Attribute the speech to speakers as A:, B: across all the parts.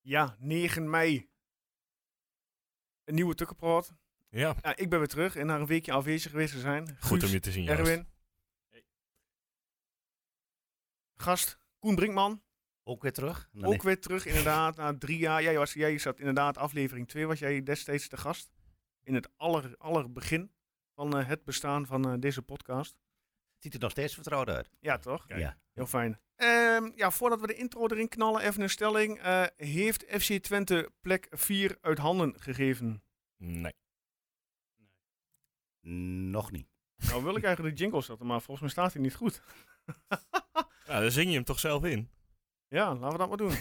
A: Ja, 9 mei. Een nieuwe Tukkenproot.
B: Ja,
A: Ja, ik ben weer terug en na een weekje afwezig geweest te zijn.
B: goed om
A: Guus,
B: je te zien, Joost.
A: Erwin. Gast Koen Brinkman.
C: Ook weer terug? Nou,
A: Ook weer terug inderdaad na drie jaar. Jij, was, jij zat inderdaad aflevering 2 was jij destijds de gast. In het aller, aller begin van eh, het bestaan van eh, deze podcast.
C: nee, ziet er nog steeds vertrouwd uit.
A: Ja, toch?
B: Kijk.
C: Ja.
A: Heel fijn. Ehm, ja, voordat we de intro erin knallen, even een stelling. Eh, heeft FC Twente plek 4 uit handen gegeven?
B: Nee.
C: Nog niet.
A: Nou wil ik eigenlijk de jingle zetten, maar volgens mij staat hij niet goed.
B: Nou, dan zing je hem toch zelf in.
A: Ja, laten we dat maar doen.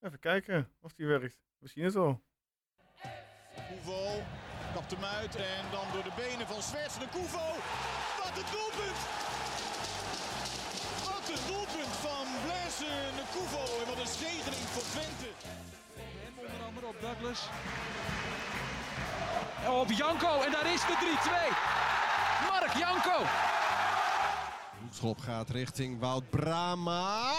A: even kijken of die werkt. We zien het wel.
D: Koevo kapt hem uit en dan door de benen van Zwerts naar Koevo. Wat een doelpunt! Wat een doelpunt van Blaise naar Koevo en wat een zegening voor Twente.
E: Hem onder andere op Douglas. En Op Janko en daar is de 3-2. Mark Janko.
D: Hoekschop gaat richting Wout Brama.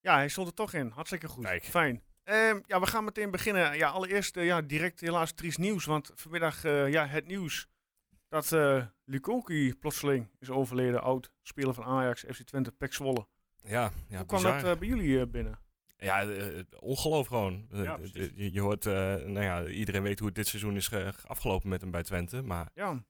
A: Ja, hij stond er toch in. Hartstikke goed.
B: Kijk.
A: Fijn. Ehm, ja, we gaan meteen beginnen. Ja, allereerst eh, ja, direct helaas triest nieuws. Want vanmiddag eh, ja, het nieuws dat eh Lukoki plotseling is overleden. Oud speler van Ajax, FC Twente, Pek Zwolle.
B: Ja, ja
A: Hoe kwam
B: bizar.
A: dat eh, bij jullie eh, binnen?
B: Ja, eh, eh, ongeloof gewoon. Eh,
A: Ja,
B: eh,
A: precies.
B: je, je hoort, eh, nou ja, iedereen weet hoe het dit seizoen is ge- afgelopen met hem bij Twente. Maar
A: Ja,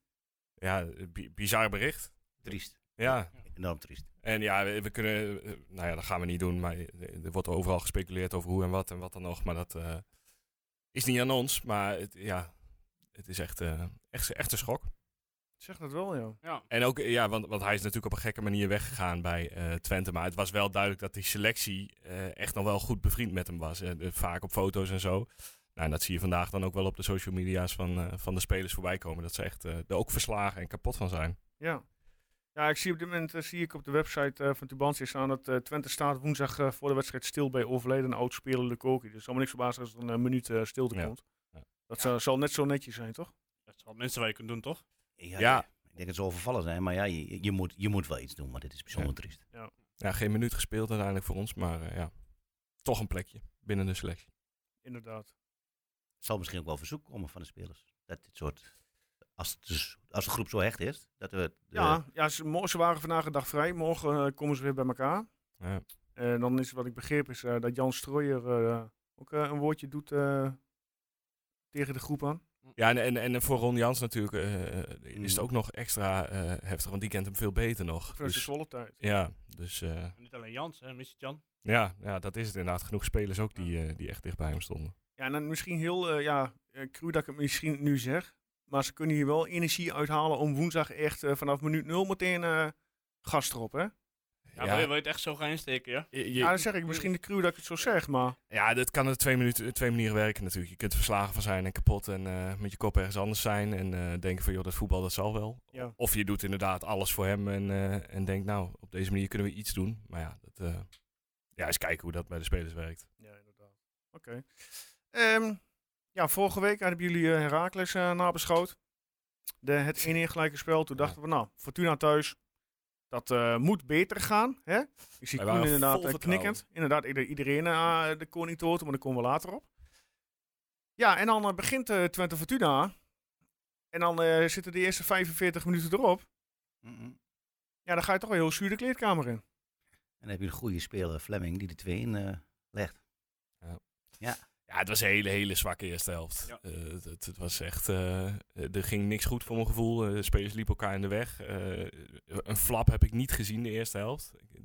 B: ja, eh, bi- bizar bericht.
C: Triest.
B: Ja,
C: Enorm triest.
B: en ja, we, we kunnen, eh, nou ja, dat gaan we niet doen. Maar eh, er wordt overal gespeculeerd over hoe en wat en wat dan nog. Maar dat eh, is niet aan ons. Maar het, ja, het is echt, eh, echt, echt een schok.
A: zeg dat wel, ja.
B: En ook, eh, ja, want, want hij is natuurlijk op een gekke manier weggegaan bij eh, Twente. Maar het was wel duidelijk dat die selectie eh, echt nog wel goed bevriend met hem was. Eh, eh, vaak op foto's en zo. Nou, en dat zie je vandaag dan ook wel op de social media's van, eh, van de spelers voorbij komen. Dat ze echt eh, er ook verslagen en kapot van zijn.
A: Ja. Ja, ik zie op dit moment eh, zie ik op de website eh, van Tubantia staan dat eh, Twente staat woensdag eh, voor de wedstrijd stil bij overleden oud-speler Lukoki. Dus zal me niks verbazen als er een eh, minuut eh, stilte
B: Ja.
A: komt.
B: Ja.
A: Dat zou- zal net zo netjes zijn, toch?
F: Dat is wat mensen waar je kunt doen, toch?
C: Ja.
B: Ja.
C: Ik denk dat ze overvallen zijn, maar ja, je, je, moet, je moet wel iets doen, want dit is bijzonder triest.
B: Ja, geen minuut gespeeld uiteindelijk voor ons. Maar eh, ja, toch een plekje binnen de selectie.
A: Inderdaad.
C: Het zal misschien ook wel verzoek komen van de spelers. Dat dit soort, als, het dus- als de groep zo hecht is, dat we... de-
A: Ja, ja ze, mo- ze waren vandaag een dag vrij. Morgen eh, komen ze weer bij elkaar.
B: Ja.
A: En dan is wat ik begreep is eh, dat Jan Strooijer eh, ook eh, een woordje doet eh, tegen de groep aan.
B: Ja, en, en, en voor Ron Jans natuurlijk eh, is het
C: Mm.
B: ook nog extra eh, heftig. Want die kent hem veel beter nog.
A: Vanuit de
B: Dus-
A: Zwolle tijd.
B: ja, dus... eh,
F: En niet alleen Jans, hè, Missy Jan.
B: Ja, ja, dat is het inderdaad. Genoeg spelers ook die, eh, die echt dicht bij hem stonden.
A: Ja, en dan misschien heel eh, ja, eh, cru dat ik het misschien nu zeg. Maar ze kunnen hier wel energie uithalen om woensdag echt eh, vanaf minuut nul meteen eh, gas erop, hè?
F: Ja, Wil, je, wil je het echt zo gaan insteken, ja?
B: je-
A: Ja,
B: je-
A: dan zeg ik misschien de cru dat ik het zo zeg, maar...
B: ja, dat kan er twee, minuten, twee manieren werken natuurlijk. Je kunt er verslagen van zijn en kapot en eh, met je kop ergens anders zijn. En eh, denken van, joh, dat voetbal, dat zal wel.
A: Ja.
B: Of je doet inderdaad alles voor hem en, eh, en denkt, nou, op deze manier kunnen we iets doen. Maar ja, dat, eh, ja, eens kijken hoe dat bij de spelers werkt.
A: Ja, inderdaad. Oké. Ehm, ja, vorige week hadden jullie eh, Heracles eh, nabeschouwd. De, het 1-1 gelijke spel. Toen
B: Ja.
A: dachten we, nou, Fortuna thuis. Dat eh, moet beter gaan, hè? Ik zie
B: Wij
A: Koen
B: waren
A: inderdaad
B: vol
A: eh,
B: vertrouwen.
A: knikkend. Inderdaad, ieder- iedereen eh, de koning te horen, maar daar komen we later op. Ja, en dan eh, begint eh, Twente Fortuna. En dan eh, zitten de eerste 45 minuten erop.
C: Mm-mm.
A: Ja, dan ga je toch wel heel zuur de kleedkamer in.
C: En dan heb je een goede speler, Fleming, die de twee in eh, legt.
B: Ja, het was een hele, hele zwakke eerste helft.
F: Ja.
B: Eh, het, het- het was echt... eh, er ging niks goed voor mijn gevoel. Eh, de spelers liepen elkaar in de weg. Eh, een flap heb ik niet gezien de eerste helft. Ik-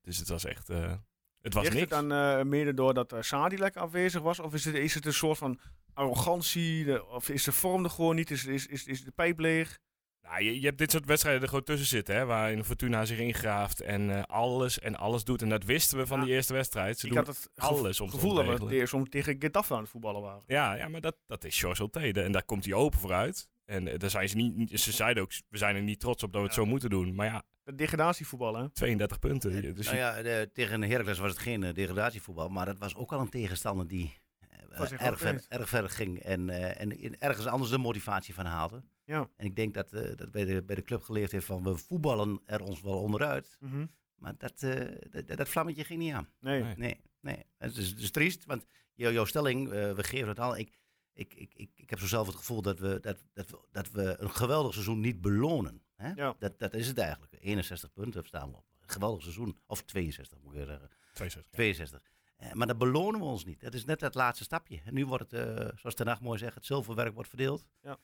B: Dus het was echt... eh, het was
A: Ligt
B: niks.
A: het dan eh, mede doordat eh Sadi lekker afwezig was? Of is het, is het een soort van arrogantie? De- of is de vorm er gewoon niet? Is, is, is, is de pijp leeg?
B: Nou, je, je hebt dit soort wedstrijden er gewoon tussen zitten. Hè, waarin Fortuna zich ingraaft en eh, alles en alles doet. En dat wisten we van
A: Ja.
B: die eerste wedstrijd. Ze
A: Ik
B: doen
A: had het gevo-
B: alles om te
A: gevoel dat we
B: ontregelen.
A: de- soms tegen Getafe aan het voetballen waren.
B: Ja, ja, maar dat, dat is George Altede. En daar komt hij open vooruit. En eh, daar zijn ze niet, niet- ze zeiden ook, we zijn er niet trots op dat we het
F: Ja.
B: zo moeten doen. Maar ja,
A: Dat degradatievoetbal, hè?
B: 32 punten. Je- Dus
C: Nou
B: je-
C: ja, de- tegen Heracles was het geen eh, degradatievoetbal, maar het was ook al een tegenstander die eh,
A: Was echt
C: erg, ver,
A: opeens.
C: erg ver ging en, eh, en in- ergens anders de motivatie van haalde.
A: Ja.
C: En ik denk dat, eh, dat bij, de, bij de club geleerd heeft van we voetballen er ons wel onderuit.
A: Mhm.
C: Maar dat, eh, dat, dat vlammetje ging niet aan.
A: Nee.
B: Nee.
C: Nee, nee. Het is, het is triest, want jou- jouw stelling, eh, we geven het al. Ik, ik, ik, ik, ik heb zo zelf het gevoel dat we, dat, dat, we, dat we een geweldig seizoen niet belonen. Hè?
A: Ja.
C: Dat, dat is het eigenlijk. 61 punten staan we op. Een geweldig seizoen. Of 62 moet ik weer zeggen.
B: 62.
C: 62. Eh, maar dat belonen we ons niet. Dat is net dat laatste stapje. En nu wordt het, eh, zoals Ten Hag mooi zegt, het zilverwerk wordt verdeeld.
A: Ja.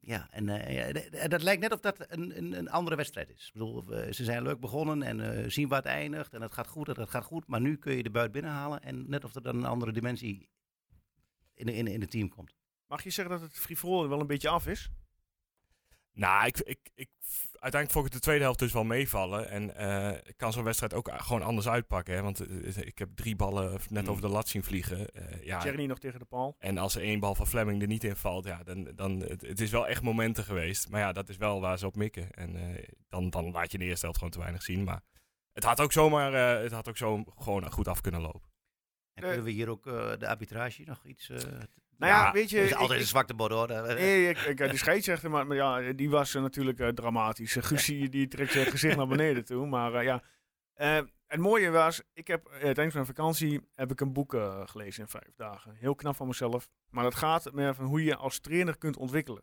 C: Ja, en eh, ja, d- d- dat lijkt net of dat een, een, een andere wedstrijd is. Ik bedoel, we- ze zijn leuk begonnen en eh, zien waar het eindigt. En het gaat goed en het gaat goed. Maar nu kun je de buit binnenhalen. En net of er dan een andere dimensie in, in, in het team komt.
A: Mag je zeggen dat het frivol er wel een beetje af is?
B: Nou, ik, ik, ik, uiteindelijk vond ik de tweede helft dus wel meevallen. En eh, ik kan zo'n wedstrijd ook gewoon anders uitpakken. Hè? Want eh, ik heb drie ballen net
C: Mm.
B: over de lat zien vliegen. Eh, ja,
A: Tjerni nog tegen de paal.
B: En als er één bal van Fleming er niet in valt, ja, dan, dan het, het is wel echt momenten geweest. Maar ja, dat is wel waar ze op mikken. En eh, dan, dan laat je in de eerste helft gewoon te weinig zien. Maar het had ook zomaar, eh, het had ook zo gewoon goed af kunnen lopen.
C: En
A: Eh.
C: kunnen we hier ook eh, de arbitrage nog iets... eh
A: Nou ja,
B: Ja,
A: weet je...
C: er is
A: ik-
C: altijd
A: ik-
C: een zwakte bord hoor. Eh, eh,
A: Nee, ik, ik, die scheidsrechter, maar, maar ja, die was eh, natuurlijk eh, dramatisch. Eh, Guus die- die trekt zijn gezicht naar beneden toe. Maar eh, ja, Eh, het mooie was, ik heb eh, tijdens mijn vakantie heb ik een boek eh, gelezen in vijf dagen. Heel knap van mezelf. Maar dat gaat meer van hoe je als trainer kunt ontwikkelen.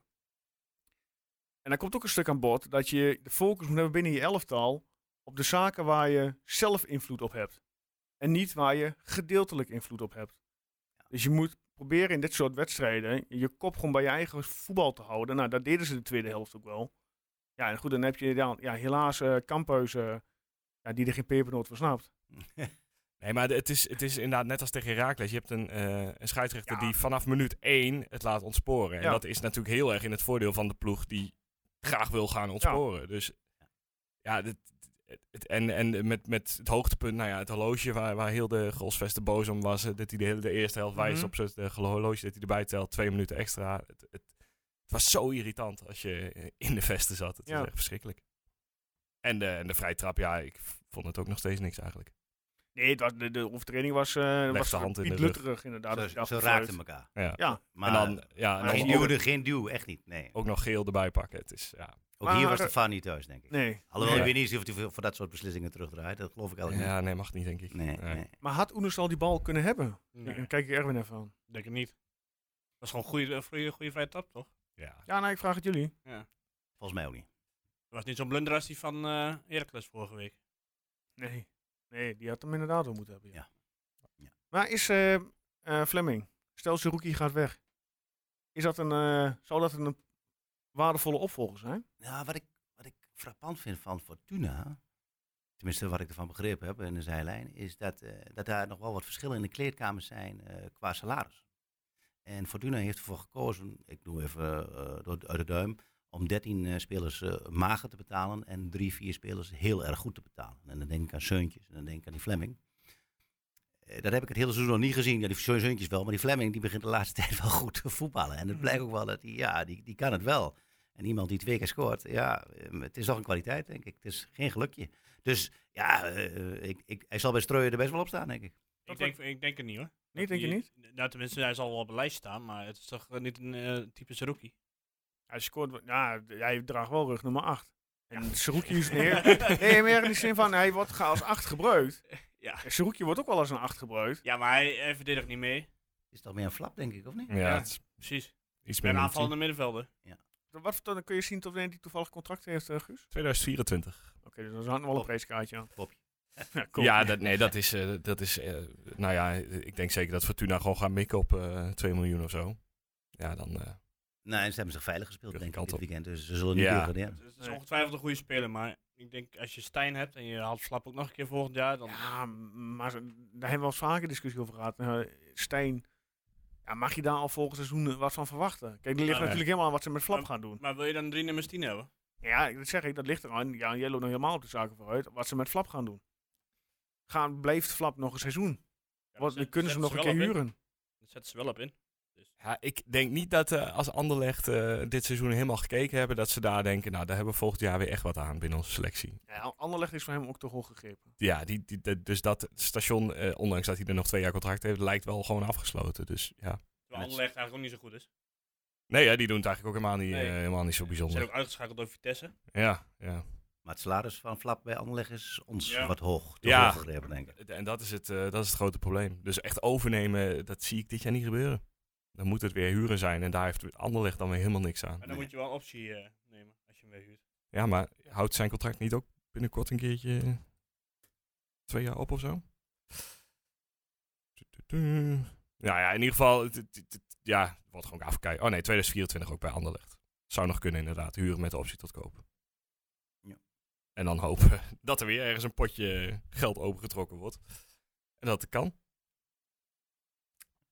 A: En daar komt ook een stuk aan bod dat je de focus moet hebben binnen je elftal op de zaken waar je zelf invloed op hebt. En niet waar je gedeeltelijk invloed op hebt. Dus je moet proberen in dit soort wedstrijden je kop gewoon bij je eigen voetbal te houden. Nou, dat deden ze de tweede helft ook wel. Ja, en goed, dan heb je dan, ja, helaas eh Kamphuis, eh, ja, die er geen pepernoot van snapt.
B: Nee, maar het is, het is inderdaad net als tegen Herakles. Je hebt een, eh, een scheidsrechter
A: Ja.
B: die vanaf minuut één het laat ontsporen. En
A: Ja.
B: dat is natuurlijk heel erg in het voordeel van de ploeg die graag wil gaan ontsporen. Dus ja, dit, het, het- en, en met, met het hoogtepunt, nou ja, het horloge waar, waar heel de Grosvester boos om was. eh, Dat hij de hele de eerste helft wijst
A: Mhm.
B: op zijn de horloge dat hij erbij telt. Twee minuten extra. Het, het, het was zo irritant als je eh, in de vesten zat. Het
A: Ja.
B: was echt verschrikkelijk. En de, en de vrije trap, ja, ik vond het ook nog steeds niks eigenlijk.
A: Nee, het was, de, de overtreding was, eh was
B: de hand in
A: Piet
B: de rug.
A: Lutterig inderdaad.
C: Ze,
A: dat je dacht,
C: ze
A: fluit.
C: raakten elkaar.
B: Ja.
A: Ja,
C: Maar,
B: en dan, ja, en
A: maar
B: dan
C: geen
A: als
B: ook-
A: je-
C: duw, geen duw, echt niet. Nee.
B: ook nog geel erbij pakken. Het is, ja.
C: Ook
A: Maar-
C: hier was de VAR niet thuis, denk ik.
A: nee.
C: Alhoewel,
B: Ja.
C: ik weet niet of hij veel voor dat soort beslissingen terugdraait. Dat geloof ik eigenlijk
B: ja, nee, mag niet, denk ik.
C: niet. Nee,
B: Nee.
C: nee.
A: Maar had Oeners al die bal kunnen hebben?
F: Nee,
A: Dan kijk ik Erwin even aan.
F: denk het niet. Dat is gewoon een goede, goede vrije trap, toch?
B: Ja.
A: Ja, nee, ik vraag het jullie.
C: Volgens mij ook niet.
F: Het was niet zo'n blunder als die van eh Heracles vorige week.
A: Nee. Nee, die had hem inderdaad wel moeten hebben. Ja.
C: Ja. Ja.
A: Maar is eh eh, Fleming, stel Zerouki gaat weg, is dat een, eh, zou dat een waardevolle opvolger zijn?
C: Nou, wat ik, wat ik frappant vind van Fortuna, tenminste wat ik ervan begrepen heb in de zijlijn, is dat, eh, dat daar nog wel wat verschillen in de kleedkamers zijn eh, qua salaris. En Fortuna heeft ervoor gekozen, ik doe even eh, door, uit de duim, om 13 eh, spelers eh, mager te betalen en drie, vier spelers heel erg goed te betalen. En dan denk ik aan Seuntjes en dan denk ik aan die Flemming. Eh, dat heb ik het hele seizoen nog niet gezien. Ja, die Seu- Seuntjes wel, maar die Flemming die begint de laatste tijd wel goed te voetballen. En het blijkt ook wel dat hij, ja, die, die kan het wel. En iemand die twee keer scoort, ja, eh, het is toch een kwaliteit, denk ik. Het is geen gelukje. Dus ja, eh, ik, ik, hij zal bij Streuer er best wel op staan, denk ik.
F: Ik denk, ik denk het niet hoor.
A: Nee,
F: Dat
A: denk je
F: die-
A: niet?
F: Nou, tenminste, hij zal wel op een lijst staan, maar het is toch eh, niet een eh, typische rookie?
A: Hij scoort, wel- ja, d- hij draagt wel rug nummer 8. En Zerouki is neer. Nee, meer in de zin van, hij wordt ge- als 8 gebruikt.
F: Ja.
A: En Zerouki wordt ook wel als een 8 gebruikt.
F: Ja, maar hij, hij verdedigt niet mee.
C: Is toch meer een flap, denk ik, of niet?
B: Ja,
F: Ja.
B: het is
F: Precies.
B: iets
F: Bij
B: meer
F: een
B: dan
F: aanvallende middenvelder.
A: Wat voor- dan kun je zien tot wanneer hij toevallig contract heeft, eh, Guus?
B: 2024.
A: Oké, dus dan hangt nog wel een
C: Klopt.
A: prijskaartje aan.
C: Klopt.
A: Ja, cool.
B: Ja, dat, nee, dat is, eh, dat is eh, nou ja, ik denk zeker dat Fortuna gewoon gaat mikken op eh 2 miljoen of zo. Ja, dan, eh,
C: Nou, en ze hebben zich veilig gespeeld,
B: Terug
C: denk ik,
B: kant
C: dit
B: op.
C: weekend. Dus ze zullen niet
B: Ja.
C: degraderen.
F: Het is
A: Nee.
F: ongetwijfeld een goede speler, maar ik denk als je Stijn hebt en je haalt Flap ook nog een keer volgend jaar, dan...
A: Ja, m- maar zo- daar hebben we wel eens vaker discussie over gehad. Eh, Stijn, ja, mag je daar al volgend seizoen eh, wat van verwachten? Kijk, die ligt
F: Nee.
A: natuurlijk helemaal aan wat ze met Flap gaan doen.
F: Maar wil je dan drie nummers 10 hebben?
A: Ja, dat zeg ik, dat ligt eraan. Ja, jij loopt nog helemaal op de zaken vooruit. Wat ze met Flap gaan doen. Gaan, blijft Flap nog een seizoen?
F: Ja,
A: Wat,
F: dan
A: dan kunnen ze hem nog een
F: zetten
A: keer
F: wel op in.
A: huren.
F: Dan zetten ze wel op in.
B: Ja, ik denk niet dat eh, als Anderlecht eh, dit seizoen helemaal gekeken hebben, dat ze daar denken, nou, daar hebben we volgend jaar weer echt wat aan binnen onze selectie.
A: Ja, Anderlecht is voor hem ook te hoog gegrepen.
B: Ja, die, die, dat- dus dat station, eh, ondanks dat hij er nog twee jaar contract heeft, lijkt wel gewoon afgesloten. Dus ja.
F: Terwijl Anderlecht eigenlijk ook niet zo goed is.
B: Nee, hè, die doen het eigenlijk ook helemaal niet,
F: Nee.
B: eh, helemaal niet zo
F: Ze zijn
B: bijzonder.
F: ook uitgeschakeld door Vitesse.
B: Ja, ja.
C: Maar het salaris van Flap bij Anderlecht is ons
F: Ja.
C: wat hoog. Te
B: Ja.
C: hoog gegrepen, denk ik.
B: En dat is, het, eh, dat is het grote probleem. Dus echt overnemen, dat zie ik dit jaar niet gebeuren. Dan moet het weer huren zijn en daar heeft Anderlecht dan weer helemaal niks aan.
F: Maar dan moet je wel een optie eh, nemen als je hem weer huurt.
B: Ja, maar houdt zijn contract niet ook binnenkort een keertje eh, twee jaar op of zo? Nou ja, in ieder geval, het, het- het- het- ja, het wordt gewoon afkijken. Oh nee, 2024 ook bij Anderlecht. Zou nog kunnen inderdaad, huren met de optie tot kopen.
C: Ja.
B: En dan hopen dat er weer ergens een potje geld opengetrokken wordt. En dat het kan.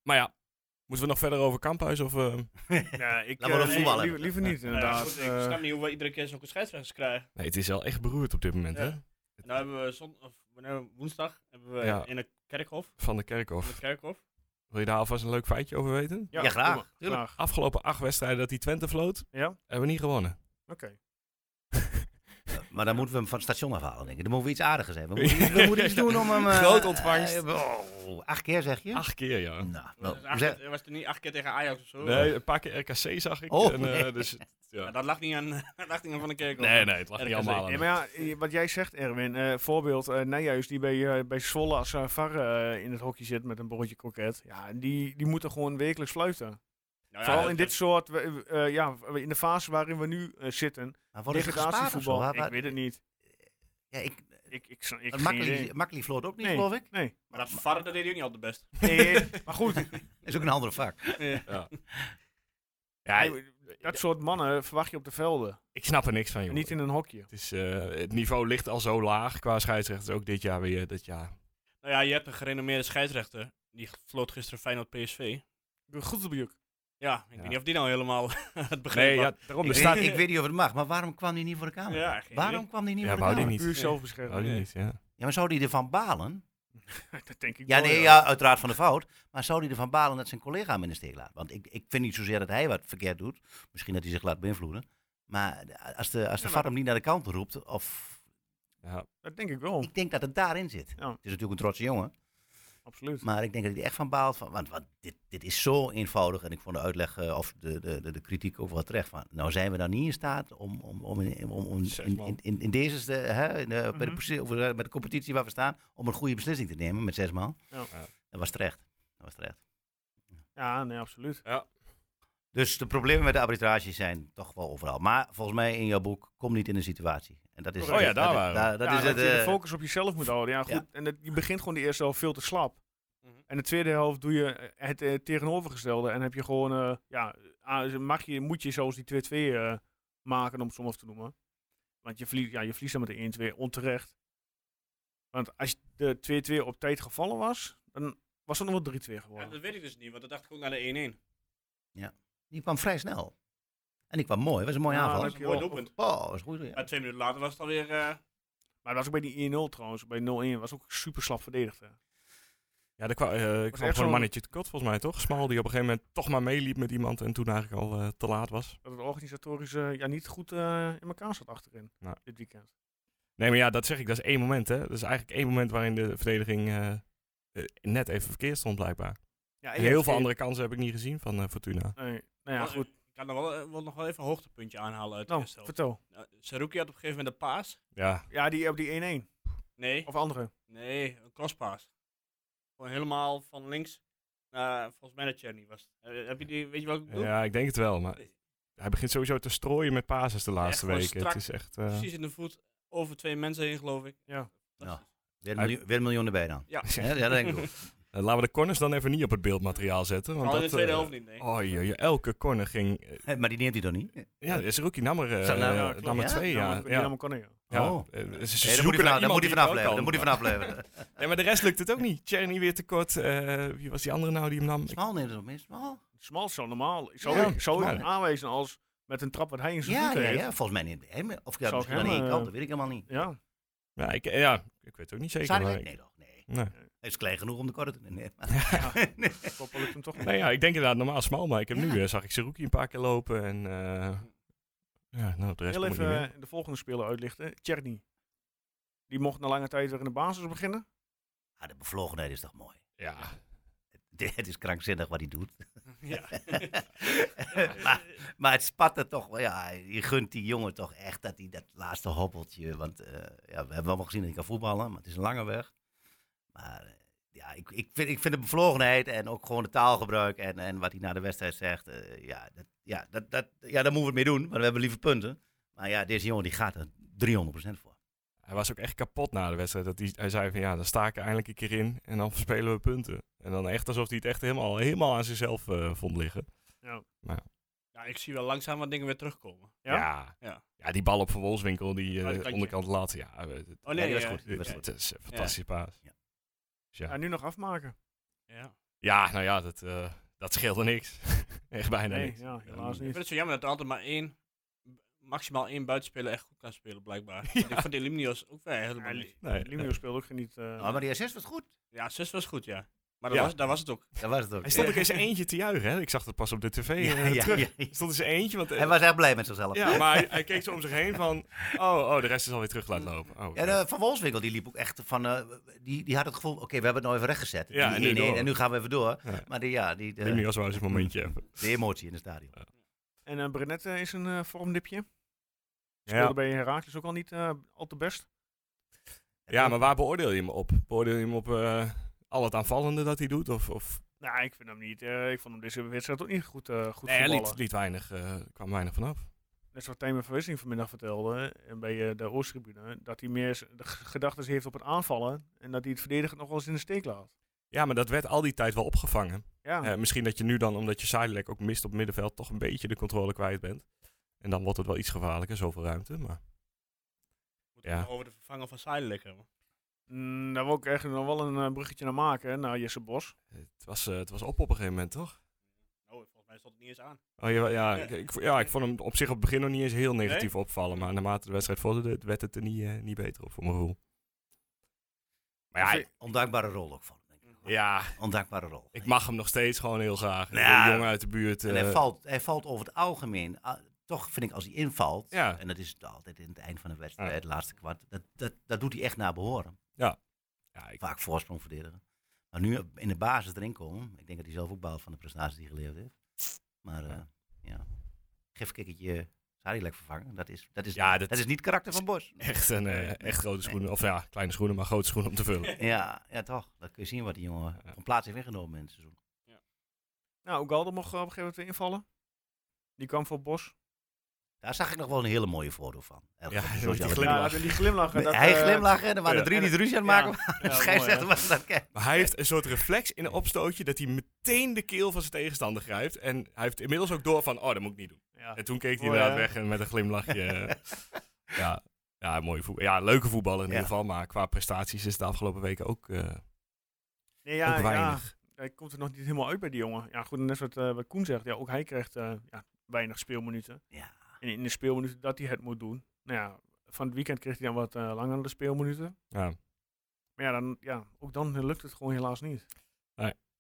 B: Maar ja, moeten we nog verder over Kamphuis of... eh,
A: Ja, ik,
C: Laat maar
A: eh,
C: op voetbal
A: nee,
C: hebben.
A: liever niet,
F: Nou ja,
A: inderdaad.
F: goed, ik
A: Eh,
F: snap niet hoe we iedere keer zo'n scheidsrechter krijgen.
B: Nee, het is wel echt beroerd op dit moment,
F: Ja.
B: hè?
F: En nou hebben we zon, of, wanneer, woensdag hebben we
B: Ja.
F: in het kerkhof.
B: Van de
F: In het
B: Kerkhof.
F: kerkhof.
B: Wil je daar alvast een leuk feitje over weten?
C: Ja, graag,
A: doe maar.
C: tuurlijk.
A: Graag.
B: afgelopen acht wedstrijden dat hij Twente vloot,
A: Ja, oké.
B: hebben we niet gewonnen.
C: Maar dan moeten we hem van het station afhalen, denk ik. Dan moeten we iets aardigers hebben. We moeten, iets- we moeten iets doen om hem... eh,
B: Groot ontvangst.
C: eh, oh, acht keer, zeg je?
B: Acht keer, ja.
C: Nou,
F: Was,
C: nou,
F: het acht
C: zeg-
F: keer- was het niet acht keer tegen Ajax of zo?
B: Nee, een paar keer RKC zag ik.
C: Oh,
B: en, eh,
C: nee.
B: dus, ja.
F: Ja, dat lag niet aan, dat lag niet aan Van de Kerkhof. Nou
B: nee, nee, het lag niet
F: RKC.
B: allemaal
A: Ja,
B: aan.
A: maar ja, eh, wat jij zegt, Erwin. eh, voorbeeld, eh Nijhuis die bij, eh, bij Zwolle als eh, VAR eh, in het hokje zit met een broodje kroket. Ja, die, die moeten gewoon wekelijks fluiten.
F: Nou ja,
A: Vooral
F: dat-
A: in dit soort, eh, eh, ja, in de fase waarin we nu eh, zitten.
C: maar worden ze gespaard of zo?
A: Degradatievoetbal.
C: Waar-
A: Ik
C: waar-
A: weet het niet.
C: Ja, ik,
A: Ik, ik, sna- ik, geen idee.
C: Makkelijk Makkely vloot ook niet,
A: Nee.
C: geloof ik.
A: Nee.
F: Maar dat varren, dat deed hij ook niet altijd best.
A: nee, maar goed,
C: Dat is ook een andere vak.
B: Ja,
A: eh, dat soort mannen verwacht je op de velden.
B: ik snap er niks van, joh.
A: Niet in een hokje.
B: Het, is, eh, het niveau ligt al zo laag qua scheidsrechters, ook dit jaar weer. Dat ja.
F: Nou ja, je hebt een gerenommeerde scheidsrechter. Die vloot gisteren Feyenoord PSV.
A: Goed op
F: Ja, ik
B: Ja.
F: weet niet of die nou helemaal het begreep
B: Nee, ja,
F: had.
B: daarom.
C: Ik,
B: Er staat
C: weet, ik weet niet of het mag, maar waarom kwam hij niet voor de camera?
F: Ja, geen
C: waarom
F: idee.
C: kwam hij niet
B: Ja,
C: voor de
B: wou die
C: camera?
B: niet.
A: Puur
B: Nee.
A: zelfbescherming.
B: Oh, die niet, ja.
C: Ja, maar zou hij ervan balen?
A: dat denk ik
C: Ja,
A: wel,
C: nee, ja, uiteraard van de fout. Maar zou hij ervan balen dat zijn collega hem in de steek laat? Want ik, ik vind niet zozeer dat hij wat verkeerd doet. Misschien dat hij zich laat beïnvloeden. Maar als de, als de
A: Ja,
C: VAR
A: maar-
C: hem niet naar de kant roept, of...
B: Ja.
A: Dat denk ik wel,
C: Ik denk dat het daarin zit.
A: Ja.
C: Het is natuurlijk een trotse jongen.
A: absoluut.
C: Maar ik denk dat hij er echt van baalt. Van, want want dit, dit is zo eenvoudig. En ik vond de uitleg eh, of de, de, de, de kritiek ook wel terecht. Van, nou zijn we dan niet in staat om, om, om, in, om, om
B: Zeg
C: in,
B: man.
C: in, in, in deze, ste- hè, in de, bij de
A: Mhm.
C: positie- of, eh, met de competitie waar we staan, om een goede beslissing te nemen met zes man.
A: Ja.
B: Ja.
C: Dat was terecht. Dat was terecht.
A: Ja, nee, absoluut.
C: Dus de problemen met de arbitrage zijn toch wel overal. Maar volgens mij in jouw boek, kom niet in een situatie. En dat is,
B: Oh ja, daar
C: dat is-
B: waren we.
C: daar- dat
A: ja,
C: is
A: dat
C: het.
A: je de
C: eh,
A: focus op jezelf moet houden. Ja, goed.
C: Ja.
A: En dat, je begint gewoon de eerste helft veel te slap.
F: Mhm.
A: En de tweede helft doe je eh, het eh, tegenovergestelde. En heb je gewoon, eh, ja, ah, mag je, moet je zelfs die 2-2 eh, maken, om het zo maar te noemen. Want je verliest, ja, je verliest dan met de 1-2 onterecht. Want als de 2-2 op tijd gevallen was, dan was het nog wel 3-2
F: Ja, dat
A: geworden.
F: weet ik dus niet, want dat dacht ik ook naar de 1-1.
C: die kwam vrij snel. En die kwam mooi. Dat was een mooie
A: Ja,
C: aanval.
A: dat
F: Dat
A: heb
F: is
A: je
F: een
A: wel.
F: mooi doelpunt.
C: Oh, dat was goed. ja.
F: Maar twee minuten later was het alweer... eh
A: Maar dat was ook bij die 1-0 trouwens. Bij 0-1 was ook super slap verdedigd. hè.
B: Ja, er kwam, eh, kwam gewoon
A: zo'n-
B: een mannetje te kort volgens mij, toch? Smal, die op een gegeven moment toch maar meeliep met iemand en toen eigenlijk al eh, te laat was.
A: Dat het organisatorisch eh, ja, niet goed eh, in elkaar zat achterin
B: Ja.
A: dit weekend.
B: Nee, maar ja, dat zeg ik, dat is één moment, hè. Dat is eigenlijk één moment waarin de verdediging eh, eh, net even verkeerd stond, blijkbaar.
A: Ja,
B: En heel veel andere kansen heb ik niet gezien van eh, Fortuna.
A: Nee, nou ja,
F: was-
A: goed.
F: Ik kan nog wel, eh, wel nog wel even een hoogtepuntje aanhalen uit de
A: Nou,
F: eerste helft.
A: vertel.
F: Nou, Saruki had op een gegeven moment een paas.
B: Ja,
A: Ja, die op die 1-1.
F: Nee,
A: Of andere.
F: nee, een crosspaas. Gewoon helemaal van links naar, volgens mij naar Cherny was het. Eh, heb je die, weet je wat ik bedoel?
B: ja, ik denk het wel, maar hij begint sowieso te strooien met passes de laatste
F: gewoon
B: weken.
F: strak.
B: Het is echt... eh,
F: Precies in de voet, over twee mensen heen geloof ik.
A: Ja.
F: Fantastisch.
C: Weer een miljoen, weer een miljoen erbij dan.
F: Ja.
C: Ja, ja, dat denk ik ook.
B: eh, laten we de corners dan even niet op het beeldmateriaal zetten. Want
F: Al in de
B: dat,
F: tweede
B: eh,
F: helft niet, nee.
B: Oh joh, joh, elke corner ging... eh,
C: Hé, Maar die neemt hij toch niet?
B: ja, is Rookie nummer, eh,
C: Zo, nou, ja,
B: eh,
C: klopt,
B: nummer
C: ja.
B: twee, ja.
A: die
B: ja.
A: allemaal kan ja.
B: ja.
C: Oh.
B: eh, ze
C: Nee,
B: zoeken
C: dan moet
B: naar
C: hij vanaf, dan
B: iemand
C: moet hij
B: die
C: vanaf
B: het wel
C: blijven. Dan
B: kan.
C: moet hij vanaf blijven.
B: Nee, maar de rest lukt het ook niet. Cherny weer tekort. eh, wie was die andere nou die hem nam? Ik-
C: Smal neemt het op mis. Smal?
A: Smal zo normaal. Ik zou,
C: Ja,
A: ik zou hem
C: smal.
A: aanwijzen als met een trap wat hij in zijn
C: Ja,
A: voeten
C: ja,
A: heeft.
C: ja, volgens mij niet. Hem, of ja,
A: Zou
C: misschien
A: ik
C: aan
A: hem,
C: één
A: eh,
C: kant, dat weet ik helemaal niet.
A: Ja.
B: Ja, ik, ja, ik weet het ook niet zeker.
C: Zou hij-
B: maar ik-
C: Nee, toch? Nee.
B: nee.
C: Hij is klein genoeg om de korte te nemen.
A: Koppel lukt hem toch niet.
B: Nee, Nou ja, ik denk inderdaad normaal smal, maar ik heb nu
C: Ja.
B: eh, zag ik Seruki een paar keer lopen en eh, ja, nou, de rest
A: Heel
B: kom ik niet
A: even
B: meer.
A: eh, de volgende speler uitlichten. Tjerni. Die mocht na lange tijd weer in de basis beginnen.
C: Ah, de bevlogenheid is toch mooi.
B: Ja,
C: Het, het is krankzinnig wat hij doet.
F: Ja.
C: maar, maar het spat er toch wel. Ja, je gunt die jongen toch echt dat hij dat laatste hobbeltje. Want eh, ja, we hebben allemaal gezien dat hij kan voetballen, maar het is een lange weg. Maar eh, ja, ik, ik, vind, ik vind de bevlogenheid en ook gewoon de taalgebruik en, en wat hij na de wedstrijd zegt. eh, ja, dat, ja, dat, dat, ja, daar moeten we het mee doen, want we hebben liever punten. Maar ja, deze jongen die gaat er 300% voor.
B: Hij was ook echt kapot na de wedstrijd. Dat hij, hij zei van ja, dan sta ik er eindelijk een keer in en dan verspelen we punten. En dan echt alsof hij het echt helemaal, helemaal aan zichzelf eh, vond liggen.
F: ja, ik zie wel langzaam wat dingen weer terugkomen.
A: Ja?
B: Ja,
F: Ja.
B: Ja, die bal op Van Wolfswinkel, die eh,
F: Oh, dat kantje.
B: onderkant laatste. Ja, eh, het-
F: Oh nee,
C: ja, die
F: ja.
C: was goed. Die was
B: het
C: goed.
B: is een fantastische paas.
C: Ja.
B: Dus ja.
A: En nu nog afmaken.
F: Ja.
B: ja, nou ja, dat, eh, dat scheelde niks. echt bijna
A: Nee,
B: niks.
A: ja, helaas
F: Ik
A: niet.
F: vind het zo jammer dat er altijd maar één, maximaal één buitenspeler echt goed kan spelen, blijkbaar.
B: Ja.
F: Ik vond die Limnios ook weer helemaal
A: Ja,
F: niet.
B: Nee,
A: Limio speelde ook niet. eh,
C: Oh, maar die assist was goed.
F: Ja, zus was goed, ja. Maar dat,
B: Ja.
F: Was, dat was het ook.
C: Dat was het ook.
B: Hij stond ook eens eentje te juichen. Hè? Ik zag dat pas op de tv
C: Ja,
B: eh,
C: ja,
B: terug.
C: ja, ja.
B: Stond eens eentje. Want, eh,
C: Hij was echt blij met zichzelf.
B: ja, maar hij, hij keek zo om zich heen van... Oh, oh de rest is alweer terug laten lopen. Oh,
C: Ja, de eh, van Wolfswinkel die liep ook echt van. eh, die, die had het gevoel, oké, we hebben het nou even rechtgezet.
B: Ja,
C: Die
B: en nu
C: 1-1,
B: door.
C: en nu gaan we even door.
B: Ja.
C: Maar die, ja, die, de,
B: Neem nu als wel eens een momentje even.
C: de emotie in het stadion.
A: En eh Brenet eh, is een eh, vormdipje.
B: Ja.
A: Speelde bij Herakles ook al niet eh, al te best.
B: Ja, maar waar beoordeel je hem op? Beoordeel je hem op eh, al het aanvallende dat hij doet? Of, of...
A: Nou, ik vind hem niet. eh, ik vond hem deze wedstrijd ook niet goed, eh goed
B: Nee, hij
A: voetballen.
B: liet, liet weinig, eh, kwam weinig vanaf.
A: Net zoals Tijmen van Wissing vanmiddag vertelde en bij eh, de Oosttribune, dat hij meer z- de gedachten heeft op het aanvallen en dat hij het verdedigen nog wel eens in de steek laat.
B: Ja, maar dat werd al die tijd wel opgevangen.
A: Ja,
B: Eh, misschien dat je nu dan, omdat je Sidelek ook mist op het middenveld, toch een beetje de controle kwijt bent. En dan wordt het wel iets gevaarlijker, zoveel ruimte. Maar
F: Moeten
B: Ja.
F: we nog over de vervanger van Seidelijk hebben.
A: Mm, daar wil ik echt nog wel een eh, bruggetje naar maken, hè, naar Jesse Bos.
B: het was, eh, het was op op een gegeven moment, toch?
F: Oh, volgens mij stond het niet eens aan.
B: Oh, ja, ja, ik, ik- ja, ik vond hem op zich op het begin nog niet eens heel negatief opvallen. Maar naarmate de wedstrijd vorderde, werd het er niet, eh, niet beter op, voor mijn gevoel. Maar ja,
C: Ondankbare rol ook van hem. denk ik.
B: ja,
C: Ondankbare rol.
B: Ik mag hem nog steeds gewoon heel graag.
C: Nou,
B: een jongen uit de buurt.
C: en
B: eh,
C: hij valt, hij valt over het algemeen. ah, toch vind ik als hij invalt,
B: Ja.
C: en dat is het altijd in het eind van de wedstrijd, het laatste kwart, dat, dat, dat doet hij echt naar behoren.
B: ja, ik-
C: Vaak voorsprong verdedigen. Maar nu in de basis erin komen, ik denk dat hij zelf ook baalt van de prestatie die hij geleverd heeft. Maar eh, ja. geef een kikkertje Sadilek vervangen. Dat is, dat, is,
B: Ja, dat-
C: dat, is niet het karakter van Bos.
B: echt een eh, echt grote schoenen. Of ja, kleine schoenen, maar grote schoenen om te vullen.
C: Ja, ja, toch. Dan kun je zien wat die jongen
B: Ja.
C: van plaats heeft ingenomen in het seizoen.
A: Nou, Ugalde mocht eh, op een gegeven moment weer invallen. Die kwam voor Bos.
C: Daar zag ik nog wel een hele mooie foto van. Ergens
B: Ja,
C: op de
B: die
C: sociale
B: glimlach.
C: media.
A: Ja, die glimlachen. dat,
C: Hij
A: eh,
C: glimlachen en er waren
B: ja.
C: drie die het ruzie aan het
A: Ja.
C: maken waren.
A: Ja,
C: de
A: mooi,
C: scheidsrechter was dat kijk.
B: Maar hij heeft een soort reflex in een opstootje dat hij meteen de keel van zijn tegenstander grijpt. En hij heeft inmiddels ook door van, oh, dat moet ik niet doen.
A: Ja.
B: En toen keek hij
A: Mooi,
B: inderdaad
A: hè?
B: weg en met een glimlachje. eh, ja, ja, mooie voetbal. Ja, leuke voetballer in
C: Ja.
B: ieder geval. Maar qua prestaties is het de afgelopen weken ook, eh,
A: Nee, ja,
B: ook
A: ja,
B: weinig.
A: hij komt er nog niet helemaal uit bij die jongen. Ja, goed, net wat, eh, wat Koen zegt. Ja, ook hij krijgt eh, ja, weinig speelminuten.
C: Ja.
A: En in de speelminuten dat hij het moet doen. Nou ja, van het weekend kreeg hij dan wat eh langere speelminuten.
B: Ja.
A: Maar ja, dan, ja, ook dan lukt het gewoon helaas niet.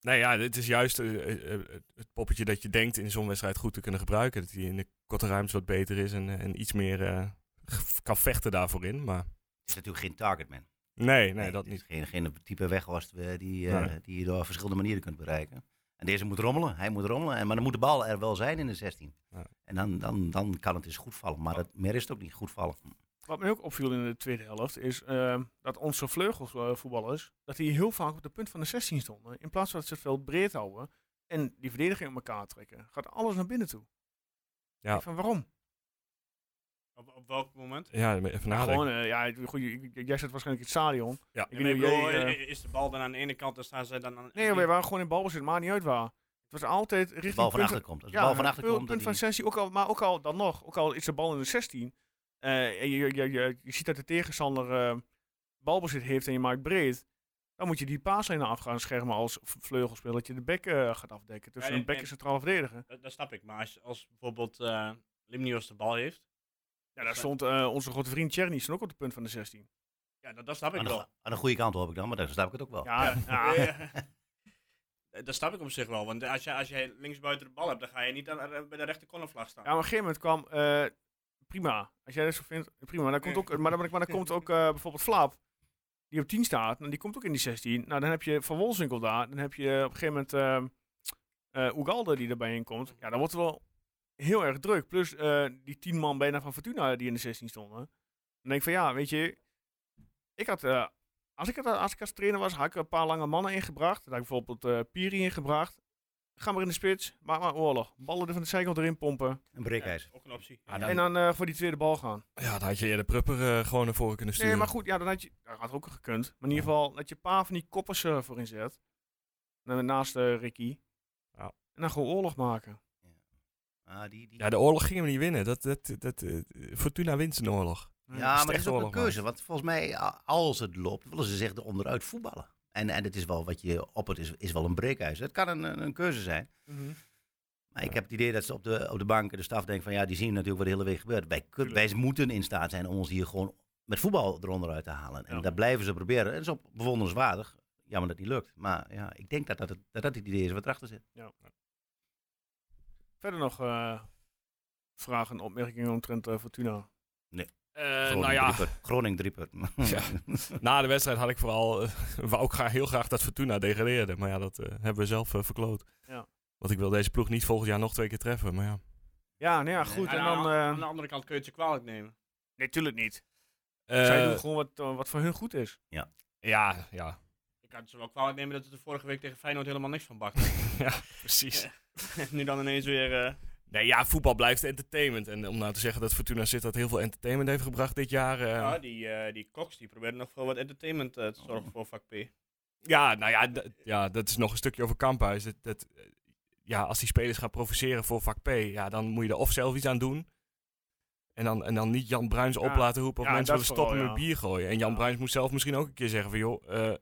B: Nou ja, het is juist eh, eh, eh, het poppetje dat je denkt in zo'n wedstrijd goed te kunnen gebruiken. Dat hij in de korte ruimte wat beter is en, eh, en iets meer eh, ge- kan vechten daarvoor in. Maar
C: Het is natuurlijk geen targetman.
B: nee, nee, dat
C: het is
B: niet.
C: Geen, geen type weghorst eh, die, eh,
B: Nee.
C: die je door verschillende manieren kunt bereiken. En deze moet rommelen. Hij moet rommelen. En- Maar dan moet de bal er wel zijn in de 16.
B: Ja.
C: En dan, dan, dan kan het eens goed vallen. Maar dat, meer is het ook niet goed vallen.
A: Wat mij ook opviel in de tweede helft is eh, dat onze vleugelsvoetballers, dat die heel vaak op de punt van de 16 stonden. In plaats van dat ze het veld breed houden en die verdediging op elkaar trekken, gaat alles naar binnen toe.
B: Ja.
A: Ik Van waarom?
F: Op, op welk moment?
B: Ja, even nadenken.
A: Gewoon, eh, ja, het- goed, je- ik- jij zit waarschijnlijk in het stadion.
B: Ah, Ja.
A: Ik
F: Ik
A: bedoel,
F: bedoel,
A: jij, eh,
F: i- i- is de bal dan aan de ene kant en staan zij dan aan
A: nee, joh, we waren gewoon in balbezit, maar niet uit waar. Het was altijd
C: Als
A: richting
C: de bal van
A: punten-
C: achter komt. Als de bal van
A: het
C: achter
A: punt-
C: komt.
A: punt
C: dan
A: van
C: die-
A: 16, ook al, maar ook al dan nog, ook al is de bal in de 16. eh, en je, je, je, je ziet dat de tegenstander eh, balbezit heeft en je maakt breed. Dan moet je die paaslijn af gaan schermen als v- vleugelspeler. Dat je de bek eh, gaat afdekken. Tussen
F: en-
A: een bek
F: en-
A: en centraal verdediger.
F: Dat, dat snap ik. Maar als, als bijvoorbeeld eh Limnios de bal heeft.
A: Ja, daar stond eh, onze grote vriend Tjerni stond ook op het punt van de 16.
F: Ja, dat, dat snap ik
C: Aan de,
F: wel.
C: aan de goede kant hoop ik dan, maar daar snap ik het ook wel.
A: Ja, ja.
F: Ja. Dat snap ik op zich wel, want als je, als je links buiten de bal hebt, dan ga je niet aan, bij de rechter cornervlag staan.
A: Ja, maar op een gegeven moment kwam eh, prima. Als jij dat zo vindt, prima. Maar dan komt ook, maar dan, maar dan komt ook eh, bijvoorbeeld Flap, die op 10 staat, en die komt ook in die 16. Nou, dan heb je Van Wolfswinkel daar. Dan heb je op een gegeven moment ehm, eh, eh, Ugalde die erbij in komt. Ja, dan wordt het wel heel erg druk. Plus eh, die 10 man bijna van Fortuna die in de 16 stonden. Dan denk ik van ja, weet je, ik had. eh, als ik, het, als ik als trainer was, had ik er een paar lange mannen ingebracht. Daar had ik bijvoorbeeld eh, Piri ingebracht. Ga maar in de spits, maak maar oorlog. Ballen er van de zijkant erin pompen.
C: Een breekijzer.
F: Ook een optie.
B: Ah,
A: En dan eh, voor die tweede bal gaan.
B: Ja, dan had je eerder Prupper eh, gewoon naar voren kunnen sturen.
A: Nee, maar goed, ja, dan had je. Dat had ook gekund. Maar in ieder geval dat je een paar van die koppers eh, voorin zet. Na- Naast eh, Ricky.
B: Ja.
A: En dan gewoon oorlog maken.
C: Ah, die, die...
B: Ja, de oorlog gingen we niet winnen. Dat, dat, dat, eh, Fortuna wint zijn oorlog.
C: Ja, maar dat is
B: slechte
C: ook een
B: oorlog, man.
C: keuze. Want volgens mij, a- als het loopt, willen ze zich eronderuit voetballen. En, en het is wel wat je op het is, is wel een breekhuis. Het kan een, een- een keuze zijn.
B: Mhm.
C: Maar ik heb het idee dat ze op de, op de bank en de staf denken van ja, die zien natuurlijk wat de hele week gebeurt. Wij, kun-
A: Tuurlijk.
C: wij moeten in staat zijn om ons hier gewoon met voetbal eronderuit te halen. En
A: Ja.
C: dat blijven ze proberen. En dat is op bewonderenswaardig. Jammer dat het niet lukt. Maar ja, ik denk dat dat het, dat dat het idee is wat erachter zit.
A: Verder nog eh, vragen en opmerkingen omtrent eh, Fortuna.
B: Eh,
C: Groningen
B: nou ja,
C: driepunt. Groningen driepunt.
B: Ja. na de wedstrijd had ik vooral... eh, wou ik graag, heel graag dat Fortuna degradeerde. Maar ja, dat eh, hebben we zelf eh, verkloot.
A: Ja.
B: Want ik wil deze ploeg niet volgend jaar nog twee keer treffen. Maar ja,
A: Ja, nou ja, goed.
F: Aan,
A: En
F: de-
A: dan.
F: aan
A: eh,
B: nou-
F: de andere kant kun je het ze kwalijk nemen.
A: nee, tuurlijk niet. Zij
B: Eh,
A: doen gewoon wat, eh, wat voor hun goed is.
B: ja, ja.
F: Ik kan het ze wel kwalijk nemen dat ze er vorige week tegen Feyenoord helemaal niks van bakten.
B: ja, precies.
F: nu dan ineens weer... eh,
B: Nee, ja, voetbal blijft entertainment. En om nou te zeggen dat Fortuna Sittard heel veel entertainment heeft gebracht dit jaar... eh,
A: Ah.
F: ja, die, eh, die Cox die probeerde nog voor wat entertainment eh, te zorgen voor vak P.
B: Ja, nou ja, d- ja, dat is nog een stukje over Kamphuis. Dat, dat, eh, ja, als die spelers gaan provoceren voor vak P, ja, dan moet je er of zelf iets aan doen. En dan, en dan niet Jan Bruins op
A: Ja.
B: laten roepen of
A: Ja,
B: mensen
A: dat
B: willen stoppen
A: vooral,
B: met
A: ja.
B: bier gooien. En Jan
A: Ja.
B: Bruins moet zelf misschien ook een keer zeggen van joh, eh, ga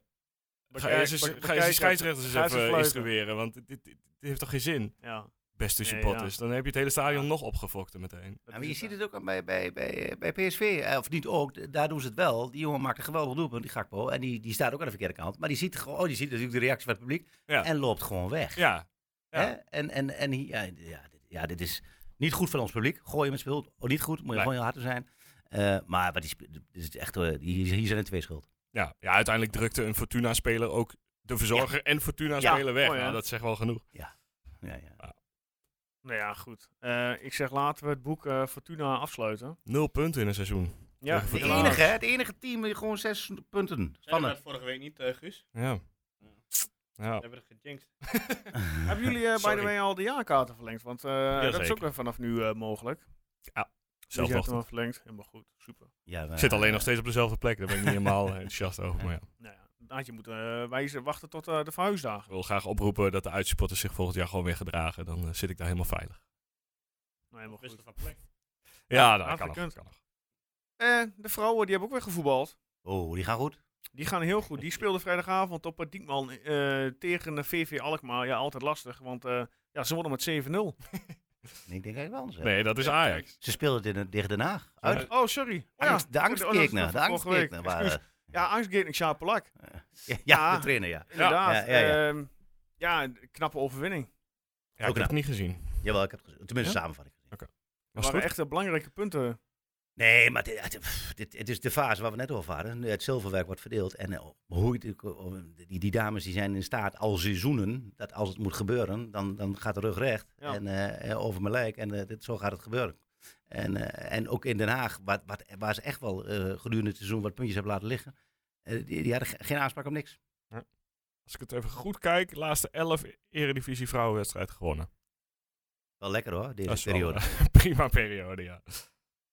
A: Bekijk-
B: eerst eens,
A: bek-
B: ga eerst die
A: bekijk dat.
B: scheidsrechters eens
A: Ga eens
B: even
A: fluiten.
B: instrueren. Want dit, dit, dit heeft toch geen zin,
A: Ja.
B: beste
A: Nee,
B: supporters.
A: ja.
B: Dan heb je het hele stadion
A: Ja.
B: nog opgefokten meteen.
A: dat
C: Ja, maar
A: is
C: je
A: het,
C: ziet
A: eh.
C: het ook aan bij, bij, bij, bij PSV, eh, of niet ook, d- daar doen ze het wel. Die jongen maakt een geweldig doelpunt, die Gakpo. En die, die staat ook aan de verkeerde kant. Maar die ziet, gewoon, oh, die ziet natuurlijk de reactie van het publiek
B: Ja.
C: en loopt gewoon weg.
B: Ja, ja.
C: Hè? En, en, en hier- ja, ja, dit, ja, dit is niet goed voor ons publiek. Gooi je met spul, oh, niet goed, moet je
B: Nee.
C: gewoon heel hard zijn. Eh, maar wat die, sp- dit is echt, eh, hier, hier zijn er twee schuld.
B: ja. ja uiteindelijk drukte een Fortuna-speler ook de verzorger en Fortuna-speler weg.
A: mooi, hè?
B: nou, dat zegt wel genoeg.
C: Ja, ja.
A: Nou ja, goed. Eh, ik zeg laten we het boek eh, Fortuna afsluiten.
B: Nul punten in een seizoen.
A: Ja,
B: De
C: Het
A: helaas.
C: enige, hè, het enige team, die gewoon zes punten.
F: Zeiden we
C: Spannend.
F: dat vorige week niet, eh, Guus?
B: Ja.
F: We
B: Ja.
F: hebben het gejinxed.
A: Hebben jullie eh, by
B: Sorry.
A: the way al de jaarkaarten verlengd? Want eh, dat is
B: zeker.
A: ook weer vanaf nu eh, mogelijk.
B: Zelf
A: dus je hebt
B: nog.
A: hem al verlengd. Helemaal goed. Super.
C: Ja, maar- eh,
B: Ik zit alleen nog steeds op dezelfde plek. Daar ben ik niet helemaal eh, enthousiast over. Maar ja.
A: Nou ja, dan had je moeten eh, wijzen, wachten tot eh, de verhuisdagen.
B: Ik wil graag oproepen dat de uitsupporters zich volgend jaar gewoon weer gedragen. Dan eh, zit ik daar helemaal veilig.
A: Nou, helemaal goed.
F: Wisselen van plek.
B: Ja, dat kan
A: hartelijk kunt.
B: nog. kan nog.
A: Eh, de vrouwen, die hebben ook weer gevoetbald.
C: Oh, die gaan goed.
A: Die gaan heel goed. Die speelden vrijdagavond op het Diekman eh, tegen de VV Alkmaar. Ja, altijd lastig, want eh, ja, ze wonnen met 7-0.
C: En ik denk eigenlijk wel anders. hè.
B: Nee, dat is Ajax.
C: Ze speelden dit in- tegen Den Haag. Uit,
A: Oh, sorry. Oh, ja.
C: Angst, de angstgekner.
A: Vorige
C: De
A: week.
C: angstgekner waren.
A: Excuus. Ah. Ja, angstgekner, Sjaap Polak.
C: eh, Ja,
A: Ja.
C: de trainer, ja.
A: Inderdaad.
C: Ja, ja, ja.
A: Ehm, ja, een knappe overwinning.
B: Ja, ik
C: Ook
B: heb het niet gezien.
C: Jawel, ik heb het gezien. Tenminste, samenvatting.
A: Dat
B: Was het
A: waren echt
B: goed?
A: eh, belangrijke punten.
C: Nee, maar dit, het- pff, dit, het is de fase waar we net over hadden. Het zilverwerk wordt verdeeld. En eh, hoe, je het- die, die dames die zijn in staat al seizoenen, dat als het moet gebeuren, dan, dan gaat de rug recht
A: Ja.
C: en, eh, over mijn lijk. En eh, dit, zo gaat het gebeuren. En, eh, en ook in Den Haag, wat, wat, waar ze echt wel eh, gedurende het seizoen wat puntjes hebben laten liggen, eh, die, die hadden ge- geen aanspraak op niks.
B: Als ik het even goed kijk, laatste 11 Eredivisie vrouwenwedstrijd gewonnen.
C: Wel lekker hoor, deze
B: Dat is wel,
C: periode.
B: eh, prima periode, ja.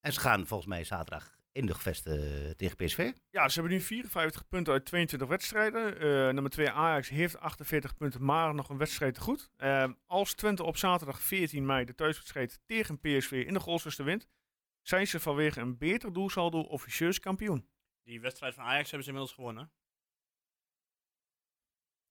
C: En ze gaan volgens mij zaterdag in de gevesten tegen PSV.
A: Ja, ze hebben nu 54 punten uit 22 wedstrijden. Eh, nummer 2 Ajax heeft 48 punten, maar nog een wedstrijd te goed. Ehm, als Twente op zaterdag 14 mei de thuiswedstrijd tegen PSV in de Golfsluster wint, zijn ze vanwege een beter doelsaldo officieus kampioen.
F: Die wedstrijd van Ajax hebben ze inmiddels gewonnen.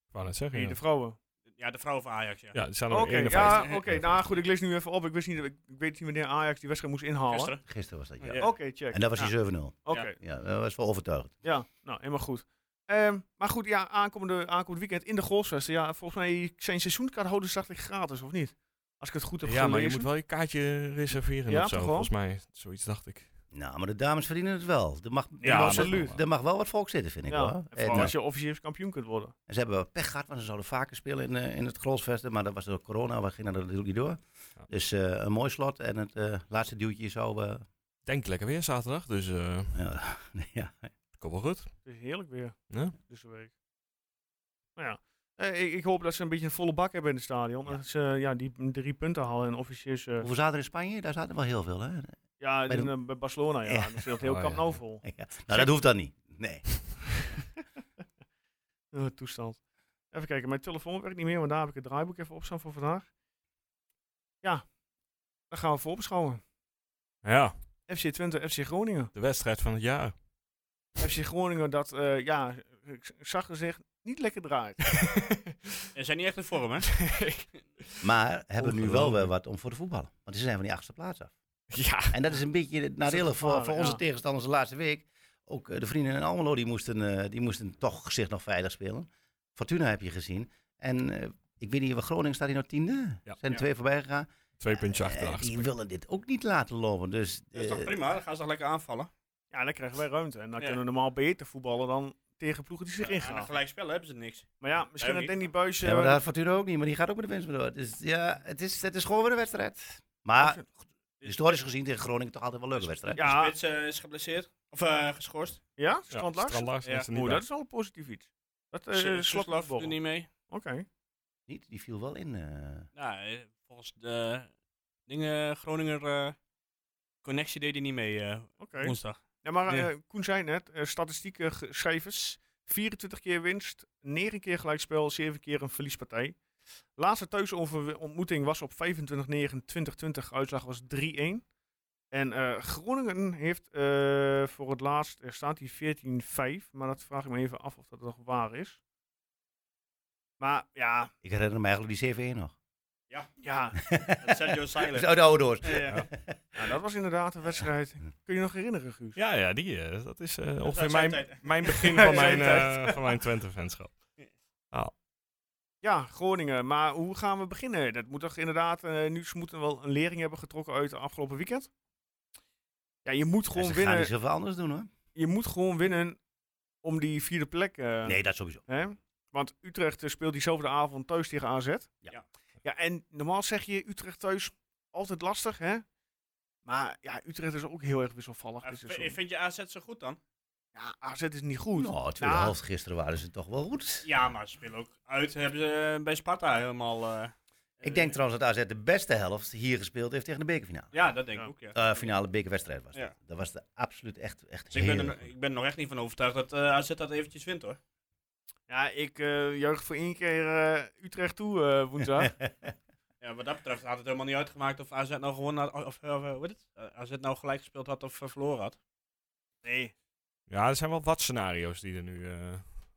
B: Ik wou net zeggen.
A: Wie
B: ja.
A: de vrouwen.
F: Ja, Oh, de vrouw van Ajax, ja.
B: Ja, er staan er
A: Oké,
B: nog 51.
A: ja, oké. nou goed, ik lees nu even op. Ik, wist niet, ik, ik weet niet wanneer Ajax die wedstrijd moest inhalen.
F: Gisteren.
C: Gisteren was dat, ja.
F: Ja.
A: Oké, check.
C: En dat was
F: Ja.
C: die 7-0.
A: Oké,
F: Ja.
C: Ja, dat was wel overtuigend.
A: ja. Nou, helemaal goed. Ehm, maar goed, ja, aankomende, aankomend weekend in de Golfsvesten. Ja, volgens mij zijn seizoenkaarthouders dacht ik gratis, of niet? Als ik het goed heb
B: Ja, maar je
A: gelezen.
B: moet wel je kaartje reserveren
A: Ja,
B: of zo,
A: toch wel?
B: volgens mij. Zoiets dacht ik.
C: Nou, maar de dames verdienen het wel. Er mag,
B: Ja,
C: er mag-
A: absoluut.
C: Er mag wel wat volk zitten, vind ik
A: Ja,
C: hoor.
A: en vooral
C: En,
A: als je officieel kampioen kunt worden.
C: eh, ze hebben wel pech gehad, want ze zouden vaker spelen in, eh, in het Grolsvesten. Maar dat was door corona, we gingen er natuurlijk niet door.
B: Ja.
C: Dus eh, een mooi slot en het eh, laatste duwtje zou... eh
B: Denk lekker weer zaterdag, dus eh
C: ja, ja.
B: komt wel goed.
A: Het is heerlijk weer,
B: Ja.
A: deze week. Nou ja, eh, ik, ik hoop dat ze een beetje een volle bak hebben in het stadion.
C: Ja.
A: Dat ze eh, ja, die m- drie punten halen en officieus... eh,
C: Hoeveel zaten er in Spanje? Daar zaten wel heel veel, hè?
A: ja,
C: bij
A: bij,
C: de-
A: bij Barcelona, ja.
C: Ja.
A: Dan speelt heel
B: Oh,
A: Camp
B: ja.
A: Nou vol.
C: Ja. Nou, dat hoeft dan niet. Nee.
A: Eh, toestand. Even kijken, mijn telefoon werkt niet meer, want daar heb ik het draaiboek even op staan voor vandaag. Ja, dan gaan we voorbeschouwen.
B: Ja,
A: FC Twente, FC Groningen.
B: de wedstrijd van het jaar.
A: FC Groningen dat, eh, ja, ik ik zag gezegd, niet lekker draait.
F: Ze zijn niet echt in vorm, hè?
C: Maar hebben nu wel
B: Ongelooflijk.
C: weer wat om voor te voetballen. Want ze zijn van die achtste plaats af.
B: ja,
C: En dat is een beetje het nadeel voor,
A: gevaarlijk,
C: voor onze
A: ja.
C: tegenstanders de laatste week. Ook eh, de vrienden in Almelo, die moesten, eh, die moesten toch zich nog veilig spelen. Fortuna heb je gezien. En eh, ik weet niet, waar Groningen staat hier nog tiende.
B: Ja.
C: zijn er
F: Ja.
C: twee voorbij gegaan.
B: twee puntjes achter de
C: En
B: achtste.
C: Eh, die willen dit ook niet laten lopen. Dus
F: Dat is toch
C: eh,
F: prima? Dan gaan ze toch lekker aanvallen?
A: Ja, dan krijgen wij ruimte. En dan
F: Ja.
A: kunnen we normaal beter voetballen dan tegen ploegen die zich
F: Aan een
A: ingaan.
F: gelijk spel hebben ze niks.
A: Maar ja, misschien
F: Ja,
A: dat
F: wie-
A: Danny Buis... eh,
C: ja, maar dat had Fortuna ook niet, maar die gaat ook met de winst maar door. Dus ja, het is, het is gewoon weer een wedstrijd. Maar historisch gezien tegen Groningen toch altijd wel een leuke wedstrijd.
A: ja,
F: Spits eh, is geblesseerd. Of eh, geschorst.
A: ja,
B: Ja,
A: Strand Lars?
B: Strand Larsen
F: Ja.
B: is er niet
A: Oeh,
B: bij.
A: dat is al een positief iets. Dat
F: S-
A: eh slot
F: Soeslof doet
A: Oké.
F: niet mee.
C: Niet, die viel wel in. eh.
F: Nou, eh, volgens de dingen Groninger eh, connectie deed hij niet mee eh,
A: Oké.
F: woensdag.
A: Ja, maar
F: Ja.
A: eh, Koen zei net, eh, statistieken, ge- cijfers. 24 keer winst, 9 keer gelijkspel, 7 keer een verliespartij. Laatste thuisontmoeting was op 25-9-2020. Uitslag was 3-1. En eh, Groningen heeft eh, voor het laatst, er staat hier 14-5. Maar dat vraag ik me even af of dat nog waar is. Maar ja,
C: Ik herinner me eigenlijk die 7-1 nog.
A: ja,
F: Sergio
C: Dat
F: Silent.
C: is uit de oude doos.
F: Ja, ja.
A: nou, dat was inderdaad een wedstrijd. Kun je nog herinneren, Guus?
B: Ja, ja, die, eh, dat is eh, ongeveer
F: zijn
B: mijn,
F: tijd.
B: mijn begin van mijn,
A: Zijn
B: eh, van mijn Twente-fanschap.
A: Ja, Groningen. Maar hoe gaan we beginnen? Dat moet toch inderdaad, eh nu ze moeten wel een lering hebben getrokken uit het afgelopen weekend. Ja, je moet
C: Ze
A: gewoon
C: gaan
A: winnen.
C: niet zoveel anders doen hoor.
A: Je moet gewoon winnen om die vierde plek. eh,
C: Nee, dat sowieso.
A: hè? Want Utrecht eh, speelt diezelfde avond thuis tegen AZ.
F: Ja.
A: Ja, en normaal zeg je Utrecht thuis altijd lastig, hè? Maar ja, Utrecht is ook heel erg wisselvallig.
F: Eh,
A: dit
F: v-
A: seizoen.
F: Vind je AZ zo goed dan?
A: ja, AZ is niet goed.
C: Nou, tweede
A: Nou.
C: helft gisteren waren ze toch wel goed.
F: Ja, maar ze spelen ook uit. Hebben ze eh, bij Sparta helemaal... eh,
C: Ik denk trouwens dat AZ de beste helft hier gespeeld heeft tegen de bekerfinale.
F: Ja, dat denk
A: Ja.
F: ik ook, ja.
C: Eh, finale bekerwedstrijd was dat.
F: Ja.
C: Dat was de absoluut echt, echt
F: Dus ik ben,
C: heel
F: er,
C: goed.
F: ik ben er nog echt niet van overtuigd dat eh, AZ dat eventjes wint, hoor.
A: Ja, ik eh juich voor één keer eh, Utrecht toe eh, woensdag.
F: Ja, wat dat betreft had het helemaal niet uitgemaakt of AZ nou gewonnen had, of eh, hoe heet het? Eh, AZ nou gelijk gespeeld had of eh, verloren had.
A: Nee.
B: Ja, er zijn wel wat scenario's die er nu... eh,